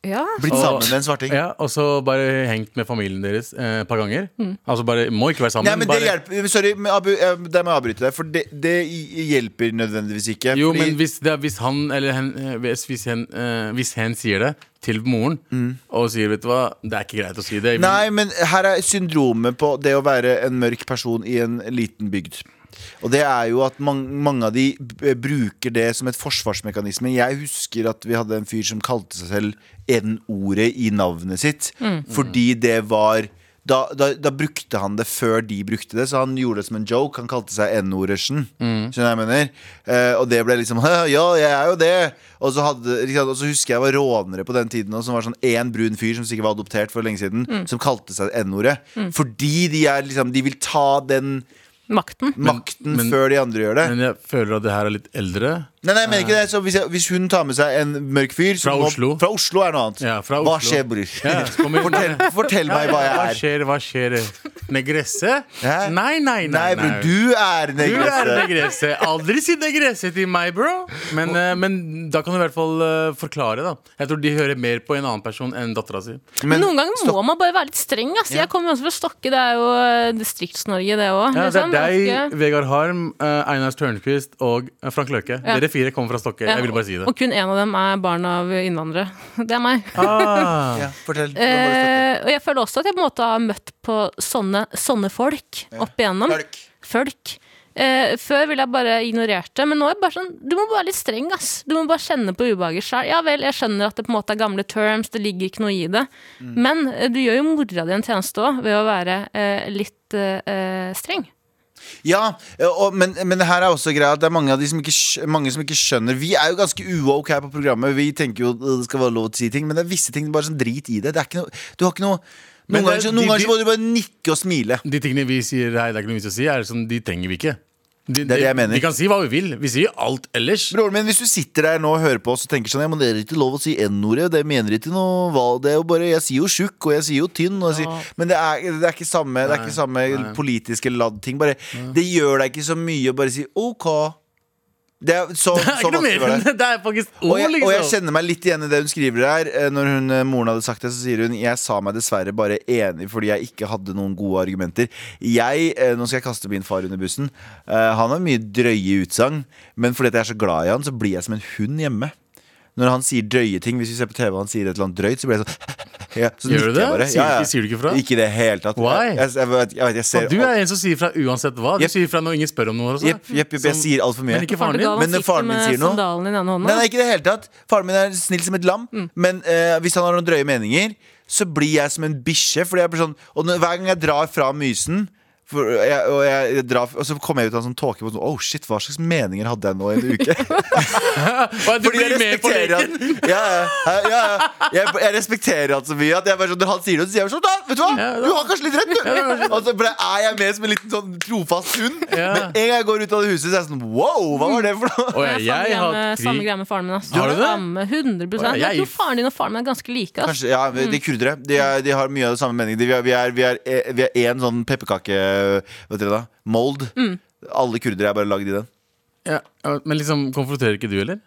Ja. Blitt Og- sammen med en svarting? Ja, og så bare hengt med familien deres eh, et par ganger. Altså bare, Må ikke være sammen. Nei, men det bare, hjelper Sorry, men Abu, eh, der må jeg avbryte deg, for det, det hjelper nødvendigvis ikke. Jo, fordi- men hvis, det, er- hvis han eller hen, eh, hvis, hvis, hen, eh, hvis hen sier det til moren, og sier 'vet du hva, det er ikke greit å si det' men- Mm. Nei, men her er syndromet på det å være en mørk person i en liten bygd. Og det er jo at man, mange av de b- bruker det som et forsvarsmekanisme. Jeg husker at vi hadde en fyr som kalte seg selv N-ordet i navnet sitt. Fordi det var da, da, da brukte han det før de brukte det, så han gjorde det som en joke. Han kalte seg N-ordersen. Skjønner Mm. du hva jeg mener? Eh, og det ble liksom «Hæ, Ja, jeg er jo det! Og så, hadde, ikke sant, og så husker jeg var rånere på den tiden også, som var sånn én brun fyr som sikkert var adoptert for lenge siden, Mm. som kalte seg N-ordet. Fordi de, er, liksom, de vil ta den Makten. makten men- før de andre gjør det. Men jeg føler at det her er litt eldre. Nei, nei, men ikke det. Så hvis, jeg, hvis hun tar med seg en mørk fyr så Fra må, Oslo. Fra Oslo er noe annet. Ja, fra Hva Oslo. skjer, bror? Ja, så kommer- fortell, fortell meg hva Hva jeg er. skjer, hva skjer? Negresse? Hæ? Nei, nei, nei. Nei, nei. bror, du er Du er negresse. negresse. Aldri si negresse til meg, bro. Men, eh, men da kan du i hvert fall eh, forklare, da. Jeg tror de hører mer på en annen person enn dattera si. Men Noen ganger må man bare være litt streng. ass. Jeg kommer jo også fra Stokke. Det er jo eh, Distrikts-Norge, det òg. Ja, det er deg, Vegard Harm, eh, Einar Tørnquist og eh, Frank Løke. Ja. Dere fire kommer fra Stokke. Jeg ville bare si det. Og kun én av dem er barn av innvandrere. Det er meg. Ah. ja, fortell. Eh, og jeg føler også at jeg på en måte har møtt på sånne, sånne folk opp igjennom. Folk. Folk. Eh, før ville jeg bare ignorert det, men nå er jeg bare sånn Du må bare være litt streng, ass. Du må bare kjenne på ubehaget sjøl. Ja vel, jeg skjønner at det på en måte er gamle terms, det ligger ikke noe i det. Mm. Men eh, du gjør jo mora di en tjeneste òg ved å være eh, litt eh, eh, streng. Ja, eh, og, men, men det her er også greia at det er mange, av de som ikke, skj- mange som ikke skjønner Vi er jo ganske uok her på programmet. Vi tenker jo at det skal være lov til å si ting, men det er visse ting bare sånn drit i det. det er ikke noe, du har ikke noe Men Noen ganger, det er- så- noen de- ganger de- så må du bare nikke og smile. De tingene vi sier her, det er ikke noe vits å si, er sånn, de trenger vi ikke. De, Det er det jeg mener. Vi kan si hva vi vil. Vi sier alt ellers. Broren min, hvis du sitter der nå og hører på oss og tenker sånn Ja, men det er ikke lov å si N-ordet. Det mener ikke noe hva Det er jo bare Jeg sier jo tjukk, og jeg sier jo tynn. Og jeg sier, men det er, det er ikke samme, det er ikke samme politiske ladd-ting. Bare Det gjør deg ikke så mye å bare si OK. Det er så, Det er så ikke noe vanskelig mer var det. enn det. Det er faktisk Og ord, jeg, og jeg liksom. kjenner meg litt igjen i det hun skriver her. Eh, Når hun, eh, moren hadde sagt det, så sier hun Jeg sa meg dessverre bare enig fordi jeg ikke hadde noen gode argumenter. Jeg, eh, Nå skal jeg kaste min far under bussen. Eh, Han har mye drøye utsagn, men fordi at jeg er så glad i han, så blir jeg som en hund hjemme. Når han sier drøye ting, hvis vi ser på TV og han sier et eller annet drøyt, så blir jeg sånn ja, så Gjør nikker du det? jeg bare. Sier- sier du ikke fra? Ikke i det hele tatt. Why? Jeg, jeg, jeg, vet- jeg, vet, jeg ser Du er en som sier fra uansett hva. Du Jepp. sier fra når ingen spør om noe. Også. Jepp, jepp, jepp, jeg Som- sier alt for mye. Men ikke faren din. Portugal, Men han når faren sitter min med sier noe- Sandalen i den ene hånda. Nei, nei, ikke i det hele tatt. Faren min er snill som et lam, Mm. men eh, hvis han har noen drøye meninger, så blir jeg som en bikkje. Fordi jeg blir sånn Og når, hver gang jeg drar fra mysen for, jeg, og, jeg, drar, og så kommer jeg ut av en sånn tåke på sånn Oh shit, hva slags meninger hadde jeg nå i en uke? Hva, Du Fordi jeg blir med på respekterer leken. han ja, ja, ja, ja. Jeg, jeg respekterer han så mye at jeg bare sånn, når han sier det, så sier jeg sånn da, Vet du hva, Ja, da- du har kanskje litt rett, du. Altså, for da er jeg med som en liten sånn trofast hund. Ja. Men en gang jeg går ut av det huset, så er jeg sånn Wow, hva var det for noe? Å, Det ja, er samme jeg greie har med- eh, Samme krig. greie med faren min. Ass. Har du det? Samme, Å, 100% ja, Jeg jeg- tror faren din og faren min er ganske like. Ass. Kanskje, ja, vi- De kurdere de, er, de har mye av det samme meningen. De, vi er- vi er- vi er- eh, vi er én sånn pepperkake Vet dere da? Mold. Alle kurdere er bare lagd i den. Ja, ja, men liksom, konfronterer ikke du, eller?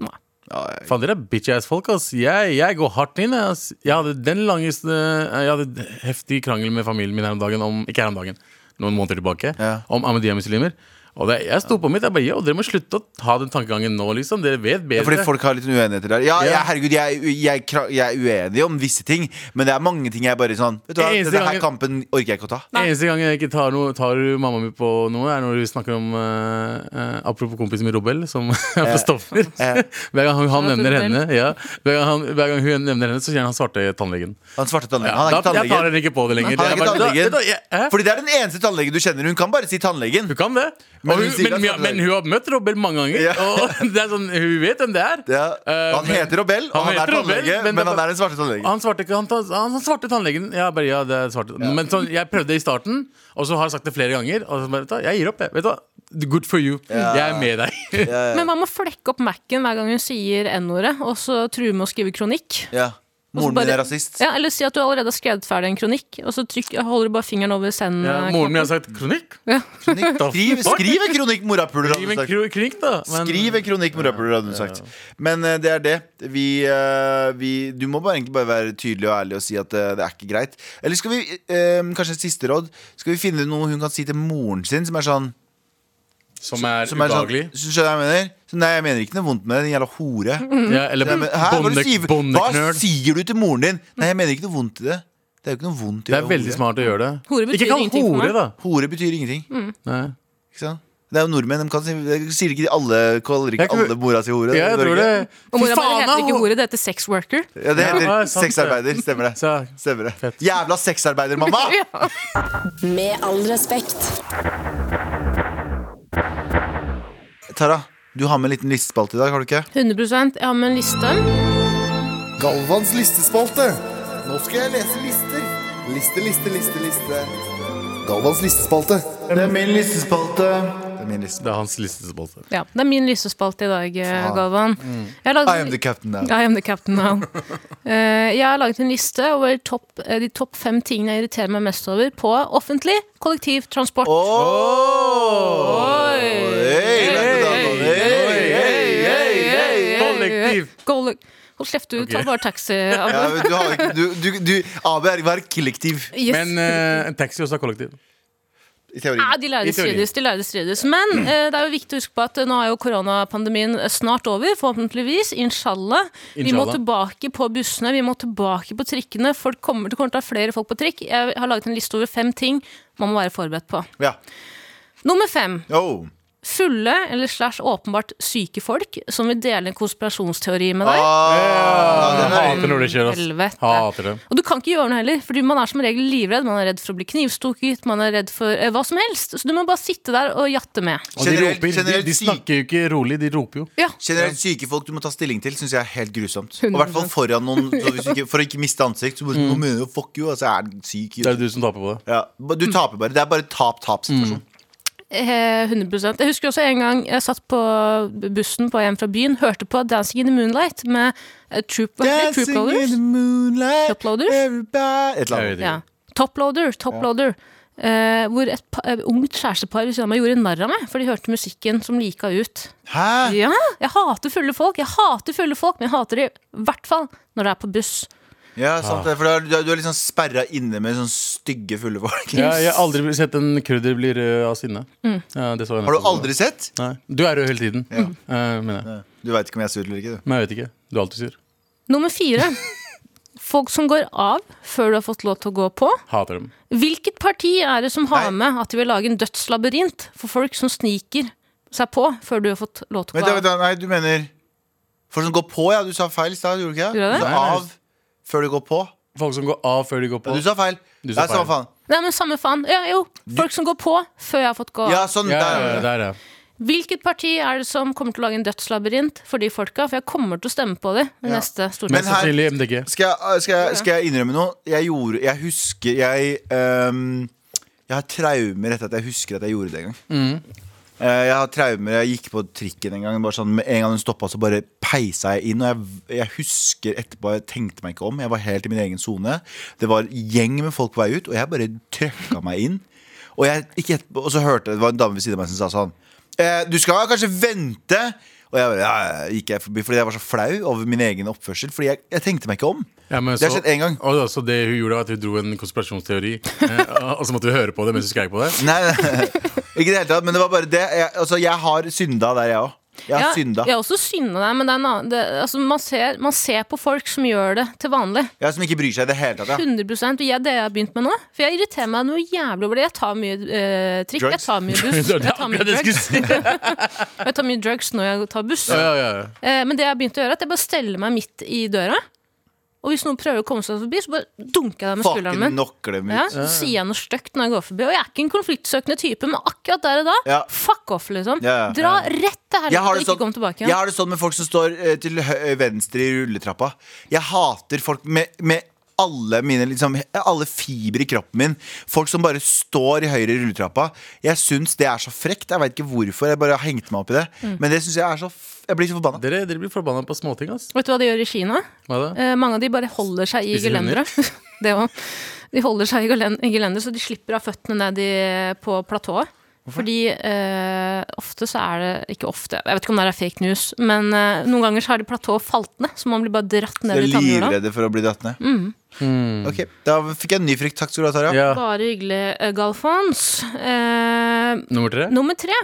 Nei. Ja, jeg- Faen, dere er bitch-ass-folk, ass. Jeg, jeg går hardt inn, jeg, ass. Jeg hadde den langeste Jeg hadde heftig krangel med familien min her om dagen om Ikke her om dagen, noen måneder tilbake. Ja. Om ahmadiyya-muslimer. Og det, jeg sto på mitt. Jeg bare, jo, Dere må slutte å ta den tankegangen nå, liksom. Dere vet Ja, bedre. fordi folk har litt uenigheter der. Ja, Ja. jeg- herregud, jeg, jeg, kra- jeg er uenig om visse ting, men det er mange ting jeg bare sånn Vet du hva, Eneste Denne her gangen- kampen orker jeg ikke å ta. Eneste gang jeg ikke tar, noe, tar mamma mi på noe, er når vi snakker om eh, eh, Apropos kompisen min Robel, som er på Stoffer. eh. Hver gang han, han Ja, nevner Robel. henne, ja, hver, gang han, hver gang hun nevner henne, så sier han svarte tannlegen. Han svarte tannlegen. Ja, Han er da, ikke jeg tar tannlegen. henne ikke på det lenger. Han er Jeg ikke bare, da- tannlegen. da- jeg- hæ? Fordi det er den eneste tannlegen du kjenner. Hun kan bare si tannlegen. Hun kan det. Men Men hun hun, sier men, at han er- men hun har møtt Robel mange ganger. Ja. Og det er sånn, hun vet hvem det er. Ja. Eh, Han men- heter Robel, og han, heter er Robel, tannlege, men, han er den svarte tannlegen. han svarte, ikke- han, ta- han, han svarte tannlegen. Ja, bare, ja, det er svarte. Men sånn, jeg prøvde i starten, og så har jeg sagt det flere ganger. Og så bare, vet du, hva, jeg gir opp, jeg. Vet du hva? Good for you. Jeg er med deg. Men man må flekke opp Mac-en hver gang hun sier N-ordet, og så truer med å skrive kronikk. Ja. Og så Moren min bare- er rasist. Ja, eller si at du allerede har skrevet ferdig en kronikk, og så trykk, holder du bare fingeren over send. ja, eh, moren min knappen. har sagt kronikk. Kronikk. Skriv, skriv en kronikk, morapuler. Skriv en kro- kronikk, da. Men- Skriv en kronikk med rapper, hadde hun sagt. Men eh, det er det. Vi, eh, vi, du må bare, egentlig bare være tydelig og ærlig og si at eh, det er ikke greit. Eller skal vi, eh, kanskje et siste råd, skal vi finne noe hun kan si til moren sin som er sånn Som er som er sånn, ubehagelig. Skjønner du hva jeg mener? Så nei, jeg mener ikke noe vondt med det, din jævla hore. Mm. Ja, eller Nei, men, hæ, hva, bonde- sier, hva bondeknøl. sier du til moren din? Nei, jeg mener ikke noe vondt i det. Det er jo ikke noe vondt i Det er å være veldig hore. smart å gjøre det. Hore betyr ikke kall ingenting for hore, meg. da. Hore betyr ingenting. Nei. Ikke sant? Det er jo nordmenn. De kan si, de sier ikke de alle, kaller ikke Jeg kan- alle mora si hore. Ja, jeg i Norge. tror det. Og mora mi heter ikke hore. ordet, det heter sex worker. Ja, det heter Ja, sant det. sexarbeider. Stemmer det. Så- Stemmer det. Fett. Jævla sexarbeider, mamma! Med all respekt. Tara, du har med en liten listespalte i dag, har du ikke? 100 Jeg har med en liste. Galvans listespalte. Nå skal jeg lese lister. Liste, liste, liste, liste. Galvans listespalte. Det er min listespalte. Det er Min liste. Det er hans listespalte. Ja, det er min lysespalte i dag, eh, Galvan. Jeg har laget- Mm. I am the captain now. I am the captain now. Eh, jeg har laget en liste over topp, eh, de topp fem tingene jeg irriterer meg mest over på offentlig kollektivtransport. Åh! Hey, Lagerdal, hey, hey, hey, hey. Kollektiv! Kollek- Eh, Hold kjeft, du. Ta Ok. bare taxi. Ja, Abu. men du har ikke du, du, du, AB er hver kollektiv Yes. Men eh, en taxi også er kollektiv. i teorien. Ja, Ah, de lærde I teorien. strides, de lærde strides. Men eh, det er jo viktig å huske på at eh, nå er jo koronapandemien eh, snart over, forhåpentligvis. Inshallah. Vi må Inshallah. tilbake på bussene, vi må tilbake på trikkene. Folk kommer, det kommer til å være flere folk på trikk. Jeg har laget en liste over fem ting man må være forberedt på. Ja. Nummer fem. Oh. Fulle eller slash åpenbart syke folk som vil dele en konspirasjonsteori med deg. Ah, Jeg den er- hater når det skjer, ass. Helvete. Hater det. Og du kan ikke gjøre noe heller, fordi man er som regel livredd. Man er redd for å bli knivstukket, man er redd for eh, hva som helst. Så du må bare sitte der og jatte med. Og de Generelt- roper. De, generelt de syk- snakker jo ikke rolig, de roper jo. Ja. Generelt syke folk du må ta stilling til, syns jeg er helt grusomt. Og i hvert fall foran noen så hvis du ikke, For å ikke miste ansikt. Så bare, mm. mener, du, fuck you, altså, jeg er den syk Det er Mm. du som taper på det. ja. Du taper bare. Det er bare tap-tap-situasjon. Eh, 100 Jeg husker også en gang jeg satt på bussen på hjem fra byen, hørte på Dancing in the Moonlight med eh, troop, hva heter det? Trooploaders. moonlight Toploaders? everybody- Et eller Jeg annet. vet ikke. Ja. Toploader. Toploader. Eh, hvor et pa, eh, ungt kjærestepar ved siden av meg gjorde narr av meg, for de hørte musikken som lika ut. Hæ? Ja, jeg hater fulle folk, jeg hater fulle folk, men jeg hater de i hvert fall når det er på buss. Ja, sant det. For da er du- du er liksom sperra inne med sånne stygge, fulle folk. Ja, jeg har aldri bli- sett en krydder bli rød av sinne. Ja, det så jeg Har du nettopp. aldri sett? Nei. Du er rød hele tiden. Eh, men, jeg. Du veit ikke om jeg er sur eller ikke, du. men jeg vet ikke. Du er alltid sur. Nummer fire. Folk som går av før du har fått lov til å gå på. Hater dem. Hvilket parti er det som har Nei. med at de vil lage en dødslabyrint for folk som sniker seg på før du har fått lov til å Vent, gå da, vent, da, av? nei, du mener Folk som går på, ja. Du sa feil i stad, gjorde du ikke det? Gjorde jeg Du det? sa Nei, nei. av før du går på. Folk som går av før de går Ja, på. du sa feil. Du sa Ja, samme feil. faen. Nei, men samme faen. Ja, jo, folk som går på før jeg har fått gå av. Ja, sånn. Ja, der, ja, er det. der er jeg. Hvilket parti er det som kommer til å lage en dødslabyrint for de folka? For jeg kommer til å stemme på dem ved neste Mest storting. her- sannsynlig MDG. Skal jeg, eh, skal, jeg, skal jeg innrømme noe? Jeg gjorde Jeg husker Jeg, ehm, jeg har traumer etter at jeg husker at jeg gjorde det en gang. Eh, Jeg har traumer Jeg gikk på trikken en gang. Bare sånn, med en gang den stoppa, så bare peisa jeg inn. Og jeg, jeg husker etterpå Jeg tenkte meg ikke om. Jeg var helt i min egen sone. Det var gjeng med folk på vei ut, og jeg bare trøkka meg inn. Og, jeg, ikke etterpå, og så hørte jeg det var en dame ved siden av meg som sa sånn eh, Du skal kanskje vente. Og jeg bare, ja, ja, ja», gikk jeg forbi fordi jeg var så flau over min egen oppførsel. Fordi jeg, jeg tenkte meg ikke om. Ja, men Det har så- skjedd én gang. Og da, så altså, det hun gjorde, var at hun dro en konspirasjonsteori, eh, og så måtte vi høre på det mens vi skreik på det. Nei, nei, ikke i det hele tatt, men det var bare det. Jeg, altså, jeg har synda der, jeg òg. Jeg har Ja, synda. Jeg har også synda der, men det er en annen, det, altså, man, ser, man ser på folk som gjør det til vanlig. Jeg som ikke bryr seg i det hele tatt. Ja. 100 Og jeg, det jeg har begynt med nå For jeg irriterer meg noe jævlig over det. Jeg tar mye eh, trikk, Drugs? jeg tar mye buss. Det var det Jeg tar mye akkurat det jeg skulle drugs, si. Ja, jeg tar mye drugs når jeg tar buss. ja, ja. Eh, men det jeg har begynt å gjøre, er at jeg bare steller meg midt i døra. Og hvis noen prøver å komme seg forbi, så bare dunker jeg dem med skulderen Fucking min. knocker dem ut. Ja, så sier jeg noe stygt når jeg går forbi. Og jeg er ikke en konfliktsøkende type, men akkurat der og da, Ja. fuck off, liksom. Ja, ja. Dra rett til Jeg helvete har, og det ikke sånn, kom tilbake jeg igjen. har det sånn med folk som står eh, til hø- venstre i rulletrappa. Jeg hater folk med, med alle, mine, liksom, alle fiber i kroppen min. Folk som bare står i høyre i rulletrappa. Jeg syns det er så frekt. Jeg veit ikke hvorfor. Jeg bare har hengt meg opp i det. Mm. Men det syns jeg er så f Jeg blir så forbanna. Dere, dere blir forbanna på småting, ass. Vet du hva de gjør i Kina? Hva da? Eh, mange av de bare holder seg i Spiser hunder? gelenderet. det òg. De holder seg i gelen- i gelenderet, så de slipper av føttene ned i, på platået. Fordi eh, ofte så er det Ikke ofte, jeg vet ikke om det er fake news, men eh, noen ganger så har de platået falt ned, så man blir bare dratt Jeg ned er i tannhjula. livredde for å bli dratt ned. Mm. Ok, Da fikk jeg en ny frykt. Takk skal du ha, Tara. Ja. Bare hyggelig, eh, Galfons. Eh, Nummer tre? nummer tre.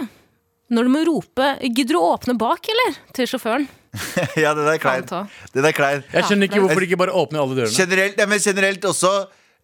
Når du må rope 'gidder du å åpne bak', eller? til sjåføren. Ja, det der er Kan klein. ta. Det der er klein. Jeg skjønner ikke Ja. hvorfor de ikke bare åpner alle dørene. Generelt, nei, men generelt også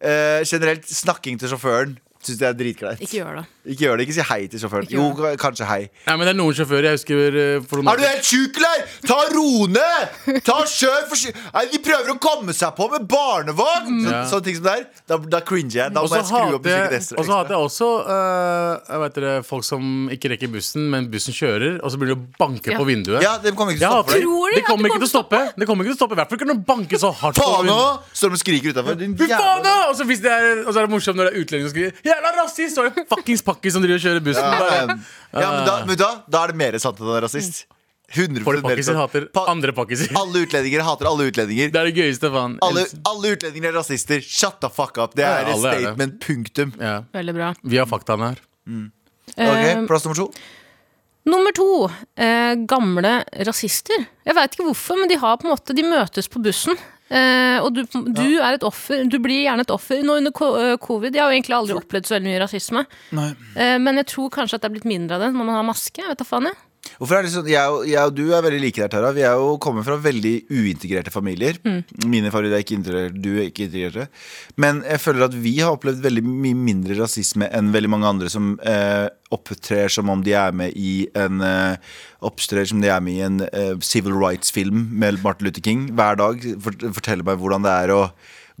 eh, Generelt snakking til sjåføren syns jeg er dritkleint. Ikke gjør det. Ikke gjør det, ikke si hei til sjåføren. Ikke Jo, gjør ka- kanskje hei. Nei, men Det er noen sjåfører jeg husker eh, for noen Er du helt sjuk, eller?! Ta ro ned! Ta kjør for sky- Nei, De prøver å komme seg på med barnevogn! Så, Ja. Sånne ting som det er. Da, da cringer jeg. Da Og må så jeg skru opp hater jeg- musikken ekstra. og så hater jeg også eh, jeg vet dere, folk som ikke rekker bussen, men bussen kjører, og så begynner de å banke Ja. på vinduet. Ja, de kommer ikke til å Ja, stoppe deg. Tror de det at kommer de ikke til å stoppe. Det kommer ikke til å stoppe I hvert fall kan du banke så hardt Faen vinduet. òg! Står de og skriker utafor. Fy faen, da! Og så hvis det er, og så er det morsomt når det er utlendinger som skriver 'Jeg jævla rasist! Så er det fuckings pakkis som driver og kjører bussen. Ja, Bare. men, da, Eh. men da, da er det mer sant enn han er rasist. 100% For mer pakkiser sant. hater Pa- andre pakkiser. Alle utlendinger hater alle utlendinger. Det er det gøyeste, faen. Alle, alle utlendinger er rasister. Shut the fuck up. Det er Ja, et alle er det. statement. Punktum. Ja, Veldig bra. vi har faktaene her. Eh, Ok, Plass nummer to. Nummer to. Eh, gamle rasister. Jeg veit ikke hvorfor, men de har på en måte De møtes på bussen. Eh, og du, du er et offer. Du blir gjerne et offer nå under ko- eh, covid. Jeg har jo egentlig aldri opplevd så veldig mye rasisme. Eh, men jeg tror kanskje at det er blitt mindre av det når man har maske. Jeg vet da faen, jeg. Hvorfor er det sånn, jeg, og- jeg og du er veldig like der, Tara. Vi er jo kommer fra veldig uintegrerte familier. Mine familier er ikke integrerte, du er ikke integrerte. Men jeg føler at vi har opplevd veldig mye mindre rasisme enn veldig mange andre som eh, opptrer som om de er med i en eh, Opptrer som de er med i en eh, civil rights-film med Martin Luther King hver dag. Fort- Fortell meg hvordan det er å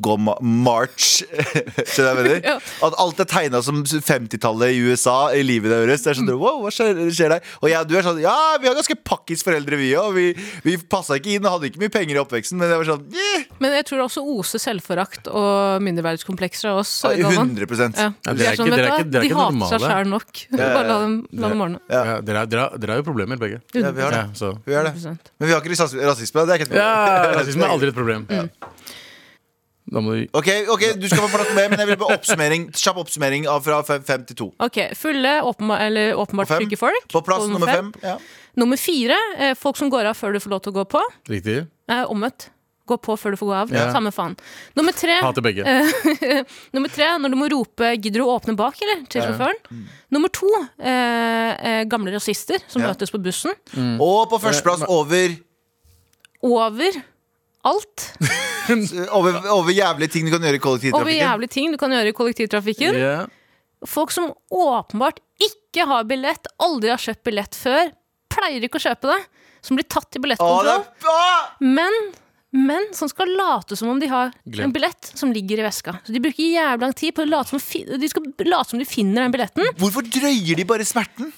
gå ma march. Skjønner du hva jeg mener? At alt er tegna som 50-tallet i USA i livet deres. Det er sånn, wow, hva skjer, skjer der? Og jeg og du er sånn, ja, vi har ganske pakkis foreldre, vi òg. Vi, vi passa ikke inn og hadde ikke mye penger i oppveksten, men det var sånn eh, Men jeg tror det også oser selvforakt og mindreverdskomplekser av oss. Galvan. 100 Ja. Ja, dere De er er sånn, ikke- dere er vet du ikke- dere hva, er de ikke hater seg normale. sjæl nok. Bare la dem, la dem ordne. Ja. Dere, har- dere, har- dere har jo problemer, begge. Ja, vi har det. Ja, så. Vi gjør det. 100%. Men vi har ikke rasisme. rasisme, Det er ikke et problem. ja rasisme er aldri et problem. Da må du Ok, ok, du skal få prate med, men jeg vil bare oppsummering kjapp oppsummering av fra fem, fem til to. Ok, Fulle, åpenbart, eller åpenbart Fem. trygge folk. På plass Punkt nummer fem. Ja. Nummer fire eh, folk som går av før du får lov til å gå på. Riktig. Eh, omvendt. Gå på før du får gå av. Ja. Samme faen. Nummer tre, eh, Hater begge. nummer tre, når du må rope 'gidder du å åpne bak', eller? Til Ja. sjåføren. Mm. Nummer to, eh, eh, gamle rasister som Ja. møtes på bussen. Og på Eh, førsteplass over, Over alt. over, over jævlige ting du kan gjøre i Over kollektivtrafikken. jævlige ting du kan gjøre i kollektivtrafikken. Ja. Folk som åpenbart ikke har billett, aldri har kjøpt billett før, pleier ikke å kjøpe det, som blir tatt Å, i det billettkontroll, er, ah! men, men som skal late som om de har Glemt. en billett som ligger i veska. Så de bruker jævlig lang tid på å late som, fi- de skal late som de finner den billetten. Hvorfor drøyer de bare smerten?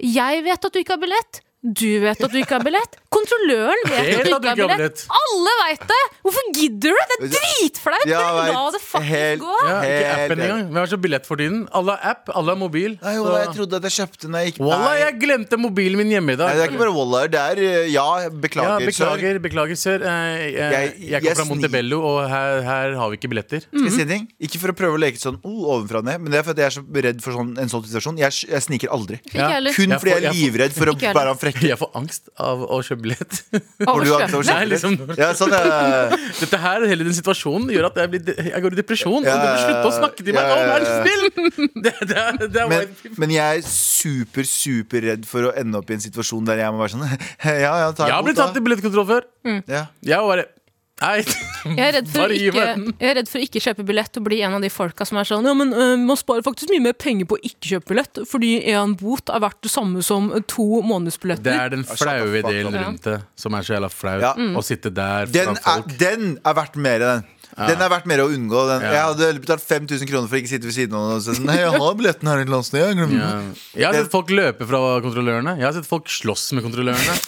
Jeg vet at du ikke har billett. Du vet at du ikke har billett. Kontrolløren vet at du ikke har billett. Alle veit det! Hvorfor gidder du? Det er dritflaut! Ja, jeg La vet. det faktisk Helt- gå! Ja, ikke Helt appen engang. Hvem har så billett for tiden? Alle har app, alle har mobil. Nei, så- Ola, jeg trodde at jeg kjøpte den jeg gikk Wallah, Nei. jeg glemte mobilen min hjemme i dag. Nei, det er ikke bare Wallah, det er eh, Ja, beklager, sir. Ja, beklager, beklager, sir. Eh, jeg, Jeg- jeg jeg kom fra sni- Montebello, og her, her har vi ikke billetter. Skal jeg si en ting? Ikke for å prøve å leke sånn oh, ovenfra og ned, men det er fordi jeg er så redd for sånn, en sånn situasjon. Jeg, jeg sniker aldri. Ikke Ja, heller. Kun Jeg fordi jeg får- er livredd for å Ikke heller. være han frekke. Jeg får angst av å kjøpe billett. Har du angst for å Nei, kjøpe det? liksom- Ja, sånn, eh, Dette her, hele den situasjonen gjør at jeg, blir, de- jeg går i depresjon. Ja, og du må slutte å snakke til ja, meg! Å, ja, vær så snill! Det, det, er- det er men, white- men jeg er super, super redd for å ende opp i en situasjon der jeg må være sånn Ja, ja, ta jeg har imot, blitt tatt i da. billettkontroll før. Ja. Jeg var bare Nei. Jeg er, redd for Bare å gi ikke, meg den. jeg er redd for å ikke kjøpe billett og bli en av de folka som er sånn Ja, men øh, man sparer faktisk mye mer penger på å ikke kjøpe billett, fordi én bot er verdt det samme som øh, to månedsbilletter. Det er den shut the flaue fuck up. delen rundt det, som er så jævla flau. Ja. Å sitte der Den foran er, folk. den er verdt mer, den. Den er verdt mer å unngå. Den. Ja. Jeg hadde heller betalt 5000 kroner for å ikke sitte ved siden av noen. og si Sånn, Nei, jeg har billetten her i landsnø. Ja. Eh, Jeg har Det- sett folk løpe fra kontrollørene. Jeg har sett folk slåss med kontrollørene.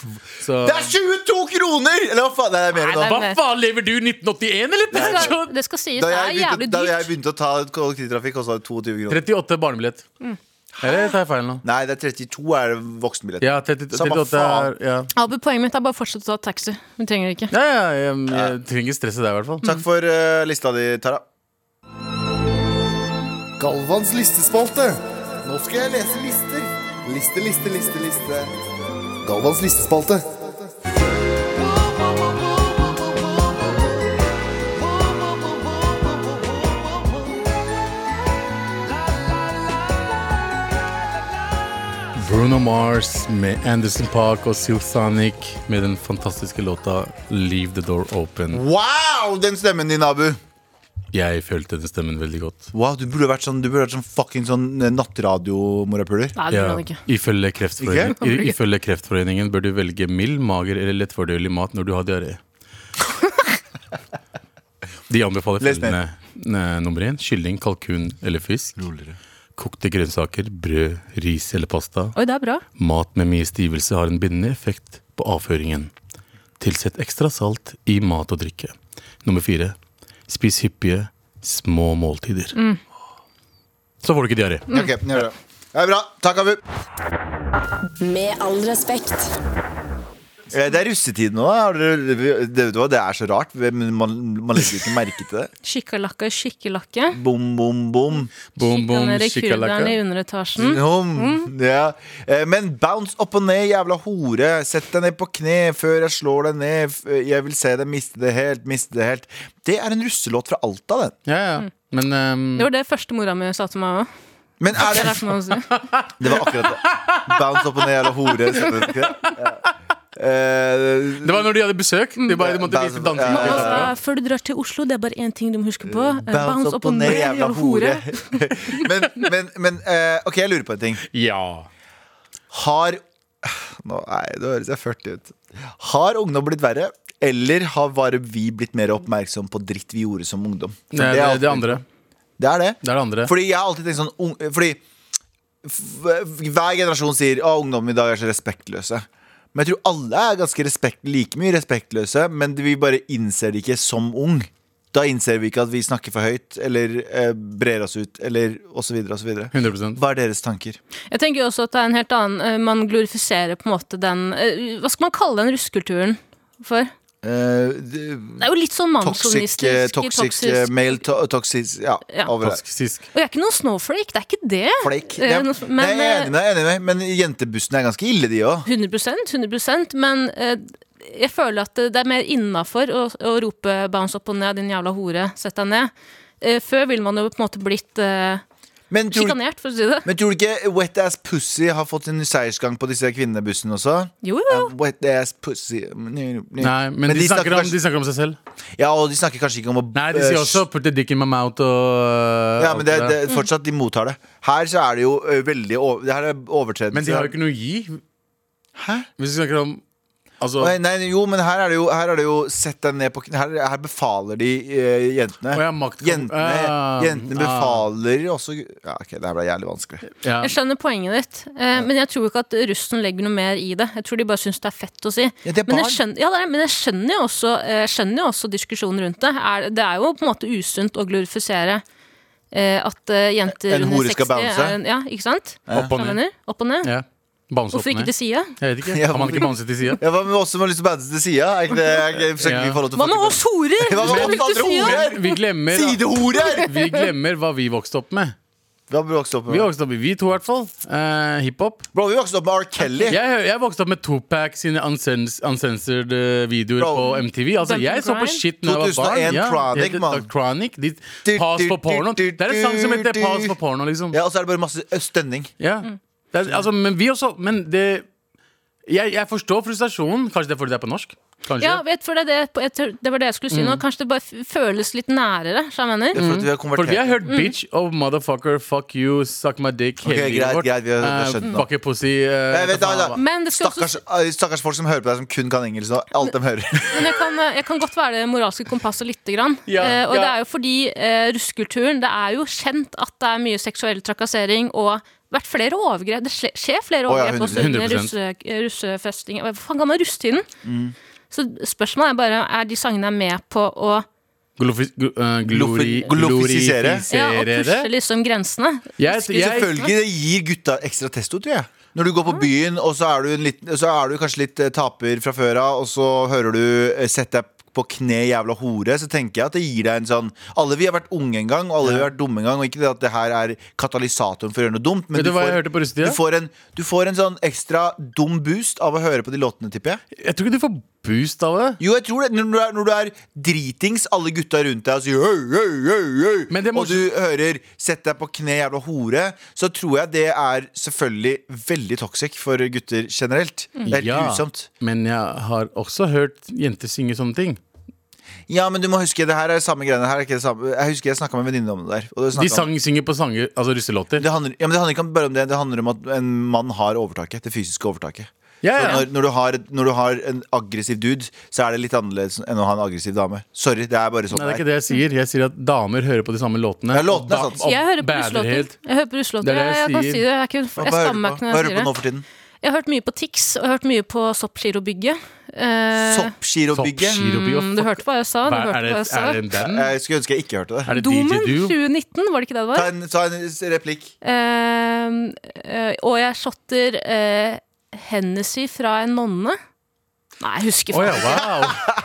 Så Det er 22 kroner! Eller hva faen? Nei, det er mer Nei, nå. det hva faen, lever du i 1981, eller? det, Så, skal, det skal sies, Da det jeg, er begynte, jævlig da dyrt. jeg begynte å ta kollektivtrafikk, kosta det 22 kroner. 38 barnebillett. Mm. Eller tar jeg feil nå? Nei, det er 32 er det voksenbillett. Ja, 30, Samme 38 er faen. ja. Abu, poenget mitt er bare fortsett å ta taxi. Vi trenger det ikke. Ja, ja, jeg, jeg trenger stresset der, i hvert fall. Takk for eh, lista di, Tara. Galvans listespalte. Nå skal jeg lese lister. Liste, liste, liste, liste. Galvans listespalte. Bruno Mars med Anderson Park og Silk Sonic med den fantastiske låta 'Leave the Door Open'. Wow, den stemmen din, Abu. Jeg følte den stemmen veldig godt. Wow, Du burde vært sånn, du burde vært sånn fucking sånn eh, nattradio-morapuler. Nei, det gjør han ikke. Ifølge, kreftforeningen, Ikke? i- ifølge Kreftforeningen bør du velge mild, mager eller lettfordøyelig mat når du har diaré. De anbefaler Les ned. følgende Ne, nummer én kylling, kalkun eller fisk. Kokte grønnsaker, brød, ris eller pasta. Oi, det er bra. Mat med mye stivelse har en bindende effekt på avføringen. Tilsett ekstra salt i mat og drikke. Mm. Nummer fire. Spis hyppige, små måltider. så får du ikke diaré. Mm. Ok, gjør det. Det er bra. Takk, Abu. Med all respekt. Eh, Det er russetid nå. Har dere- Det, vet du hva, det er så rart. men Man, man legger ikke merke til det. Skikkelakke, skikkelakke. Bom, bom, bom. Boom, boom, Kikkanere, kulderen i shikalaka. Mm. underetasjen. Om, ja. Eh, Men bounce opp og ned, jævla hore. Sett deg ned på kne før jeg slår deg ned. F- Jeg vil se deg miste det helt, miste det helt. Det er en russelåt fra Alta, det. Ja, ja. Men ehm, Mm. Det var det første mora mi sa til meg òg. Men er det Det var akkurat det. Bounce opp og ned, jævla hore. Sett deg ned på kne. Ja. Eh, det var når de hadde besøk. De, bare, de måtte Bounce vise opp- Mm. dansing. ja, ja, ja. Altså, Før du drar til Oslo, det er bare én ting du må huske på. Eh, Bounce opp og ned, jævla hore. men men, men eh, OK, jeg lurer på en ting. Ja. Har Nå, Nei, det høres jeg 40 ut. Har ungdom blitt verre? Eller har bare vi blitt mer oppmerksom på dritt vi gjorde som ungdom? For Det, det, alltid- det andre. det er det. Det er det andre. Fordi jeg har alltid tenkt sånn ung- Fordi f- hver generasjon sier at ungdommen i dag er så respektløse. Men jeg tror alle er ganske respekt, like mye respektløse, men vi bare innser det ikke som ung. Da innser vi ikke at vi snakker for høyt, eller eh, brer oss ut, eller osv. osv. 100 Hva er deres tanker? Jeg tenker jo også at det er en helt annen eh, Man glorifiserer på en måte den eh, Hva skal man kalle den russekulturen for? Eh, det- Det er jo litt sånn Toxic, mannsjåvinistisk. eh, toxic, eh, male to toxic Ja, Ja. over det. Toksisk. Og jeg er ikke noen snowflake, det er ikke det. Flake. Eh, Ja. noe- Nei, men, jeg er enig med deg, jeg er enig med deg, men jentebussene er ganske ille, de òg. 100 100 Men eh, jeg føler at det det er mer innafor å, å rope 'bounce opp og ned, din jævla hore', sett deg ned. Eh, før ville man jo på en måte blitt eh, Men, tror du- sjikanert, for å si det. men tror du ikke Wet Ass Pussy har fått sin seiersgang på disse kvinnebussene også? Jo, jo, jo. Eh, Wet ass pussy Nei, Nei, men, de, snakker om, kanskje, de snakker om seg selv. Ja, og de snakker kanskje ikke om å Nei, de sier eh, også 'put the dick in my mouth' og ja, men det, alt det, fortsatt, de mottar det. Her så er det jo ø, veldig over, Det her er overtredelse. Men de har jo ikke noe å gi. Hæ? Hvis vi snakker om Altså Nei, nei, jo, men her er det jo, her er det jo Sett deg ned på kn- Her, her befaler de eh, jentene. Å ja, makt- jentene, Ah, jentene ah. befaler også Ja, ok, det her ble jævlig vanskelig. ja. Jeg skjønner poenget ditt, eh, men jeg tror ikke at russen legger noe mer i det. Jeg tror de bare syns det er fett å si. Ja, det er men, barn. jeg skjønner, ja, det er, men jeg skjønner jo også, eh, skjønner jo også diskusjonen rundt det. Er, det er jo på en måte usunt å glorifisere eh, at eh, jenter En hore under 60 skal bounce. er en- Ja, ikke sant? Opp og Hva ned. mener du? Opp og ned? Ja. Bounce opp Hvorfor ned. ikke til side? Jeg vet ikke. Ja, Kan man ikke hvorfor- bounce til sida? Ja, Hva med oss som har lyst til å bande til sida? Er ikke det er ikke, forsøker Ja. vi å få lov til Hva å med oss Hva horer? med Skal vi oss til andre sida? horer? Vi glemmer, Sidehorer! vi glemmer hva vi vokste opp med. Hva har vi vokst opp Vi med? vokste opp med vi to, i hvert fall. Eh, Hiphop. Bro, vi vokste opp med R. Kelly. Jeg, hø- jeg vokste opp med Tupac sine uncens, uncensored eh, videoer Bro. på MTV. Altså, Bump jeg and så på Grind? shit når jeg var 2001 barn. Ja, Chronic, det heter mann. Chronic. De, Du, pass du, på du, pornoen. du, Det er en sang som heter du. 'Pass på porno', liksom. Ja, og så er det bare masse ø, stønning. Ja. Det er, altså, men vi også Men det jeg, jeg forstår frustrasjonen. Kanskje det er fordi det er på norsk? Kanskje. Ja, vet, for det, er det, jeg tror- det var det jeg skulle si Mm. nå. Kanskje det bare f- føles litt nærere, så jeg mener. Det er for at vi har For konvertert. vi har hørt Mm. bitch og motherfucker, fuck you, suck my dick Ok, hele livet greit, vårt. greit, vi har- vi har Eh, skjønt nå. fuck your pussy. eh, Jeg vet, hva faen da, det var. da. Men det skal også Stakkars, ø, stakkars folk som hører på deg, som kun kan engelsk. Og alt de hører. Men jeg kan, eh, jeg kan godt være det moralske kompasset lite grann. Ja, eh, og ja. det er jo fordi eh, russekulturen Det er jo kjent at det er mye seksuell trakassering og vært flere overgrep. Det skje- skjer flere Å, ja, overgrep også 100%. under russe, russefesting. Hva faen kan man russetiden? Mm. Så spørsmålet er bare er de sangene er med på å Glorifi- gl- eh, glori- Glofi- glorifisere. ja, å glorifisere pushe det. liksom grensene. Jeg, jeg, Selvfølgelig det gir gutta ekstra testo, tror jeg. Når du går på byen, og så er du, en liten, så er du kanskje litt eh, taper fra før av, og så hører du eh, 'sett deg på kne, jævla hore', så tenker jeg at det gir deg en sånn Alle vi har vært unge en gang, og alle vi har vært dumme en gang, og ikke det at det her er katalysatoren for å gjøre noe dumt, men Vet du du hva får, jeg hørte på russetida? du, får en, du får en sånn ekstra dum boost av å høre på de låtene, tipper jeg. jeg tror ikke du får boost av det. Jo, jeg tror det. Når du er, når du er dritings, alle gutta rundt deg og sier «Øy, øy, øy, øy», Men det må- Og du hører 'sett deg på kne, jævla hore', så tror jeg det er selvfølgelig veldig toxic for gutter generelt. Det er helt Ja, grusomt. men jeg har også hørt jenter synge sånne ting. Ja, men du må huske, det her er samme greiene. Her er ikke det samme. Jeg husker jeg snakka med en venninne om det der. Og det De snakket om, sang, synger på sanger, altså russelåter. det, handler, ja, men det handler ikke om- bare om det, det handler om at en mann har overtaket. Det fysiske overtaket. Ja, Så ja. Sånn Når, når, du har, når du har en aggressiv dude, så er det litt annerledes enn å ha en aggressiv dame. Sorry, det er bare sånn Nei, det er ikke det jeg sier. Jeg sier at damer hører på de samme låtene. Ja, låtene er sånn. sant. og ba- og Jeg hører på bærer russelåter. helt. Jeg hører på russelåter. Det er det Jeg, jeg jeg kan sier. si det. Jeg, er ikke, Hva jeg hører du skammer meg på? ikke Hva når hører du jeg på sier nå det. for tiden? Jeg har hørt mye på Tix, og jeg har hørt mye på Soppgirobygget. Eh, Soppgirobygget. Soppgirobygget, mm, du fuck. hørte hva jeg sa. Du Hva, hørte er, det, hva jeg sa. er det en band? Eh, Jeg skulle ønske jeg ikke hørte det. Er det Domen DJ Duo? 2019, var det ikke det det Ta var? en, ta en replikk. Eh, eh, og jeg shotter eh, Hennessy fra en nonne. Nei, jeg husker Å ja, faen. wow.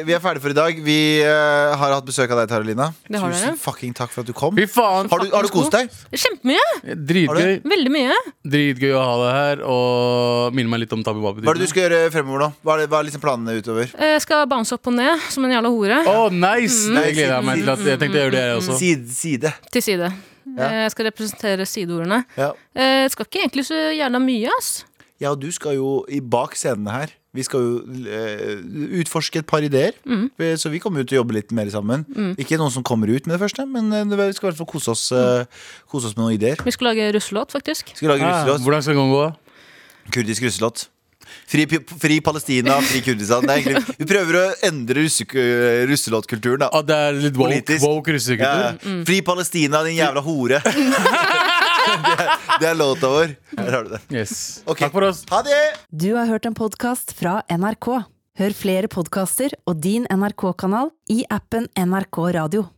Vi er ferdige for i dag. Vi eh, har hatt besøk av deg, Taralina. Det har Tusen dere. fucking takk for at du kom. Fy faen. Har du, har du kost deg? Kjempemye! Dritgøy. Veldig mye. Dritgøy å ha deg her, og minne meg litt om Tabu Babi. Hva er det du skal gjøre fremover nå? Hva er, det, hva er liksom planene utover? Eh, Jeg skal bounce opp og ned som en jævla hore. Å, nice! Mm. Det Nice. gleder jeg meg til. at Jeg tenkte å gjøre det, jeg også. Side, side. Til side. Ja. Eh, Jeg skal representere sideordene. Ja. Eh, Jeg skal ikke egentlig så jævla mye, ass. Jeg og du skal jo i bak scenene her. Vi skal jo eh, utforske et par ideer. Mm. Eh, Så vi kommer jo til å jobbe litt mer sammen. Ikke noen som kommer ut med det første, men eh, vi skal i hvert fall kose oss, eh, kose oss med noen ideer. Vi skal lage russelåt, faktisk. Skal lage Ja, russelåt. Ah, hvordan skal den gå? Kurdisk russelåt. Fri, pi- fri Palestina, fri Kurdistan. Det er egentlig, vi prøver å endre russe, russelåtkulturen, da. At Ah, det er litt woke, Politisk. woke russekultur? Ja, ja. Fri Palestina, din jævla hore. det, er, det er låta vår. Der har du det. Yes. Ok. Takk for oss. Ha det! Du har hørt en podkast fra NRK. Hør flere podkaster og din NRK-kanal i appen NRK Radio.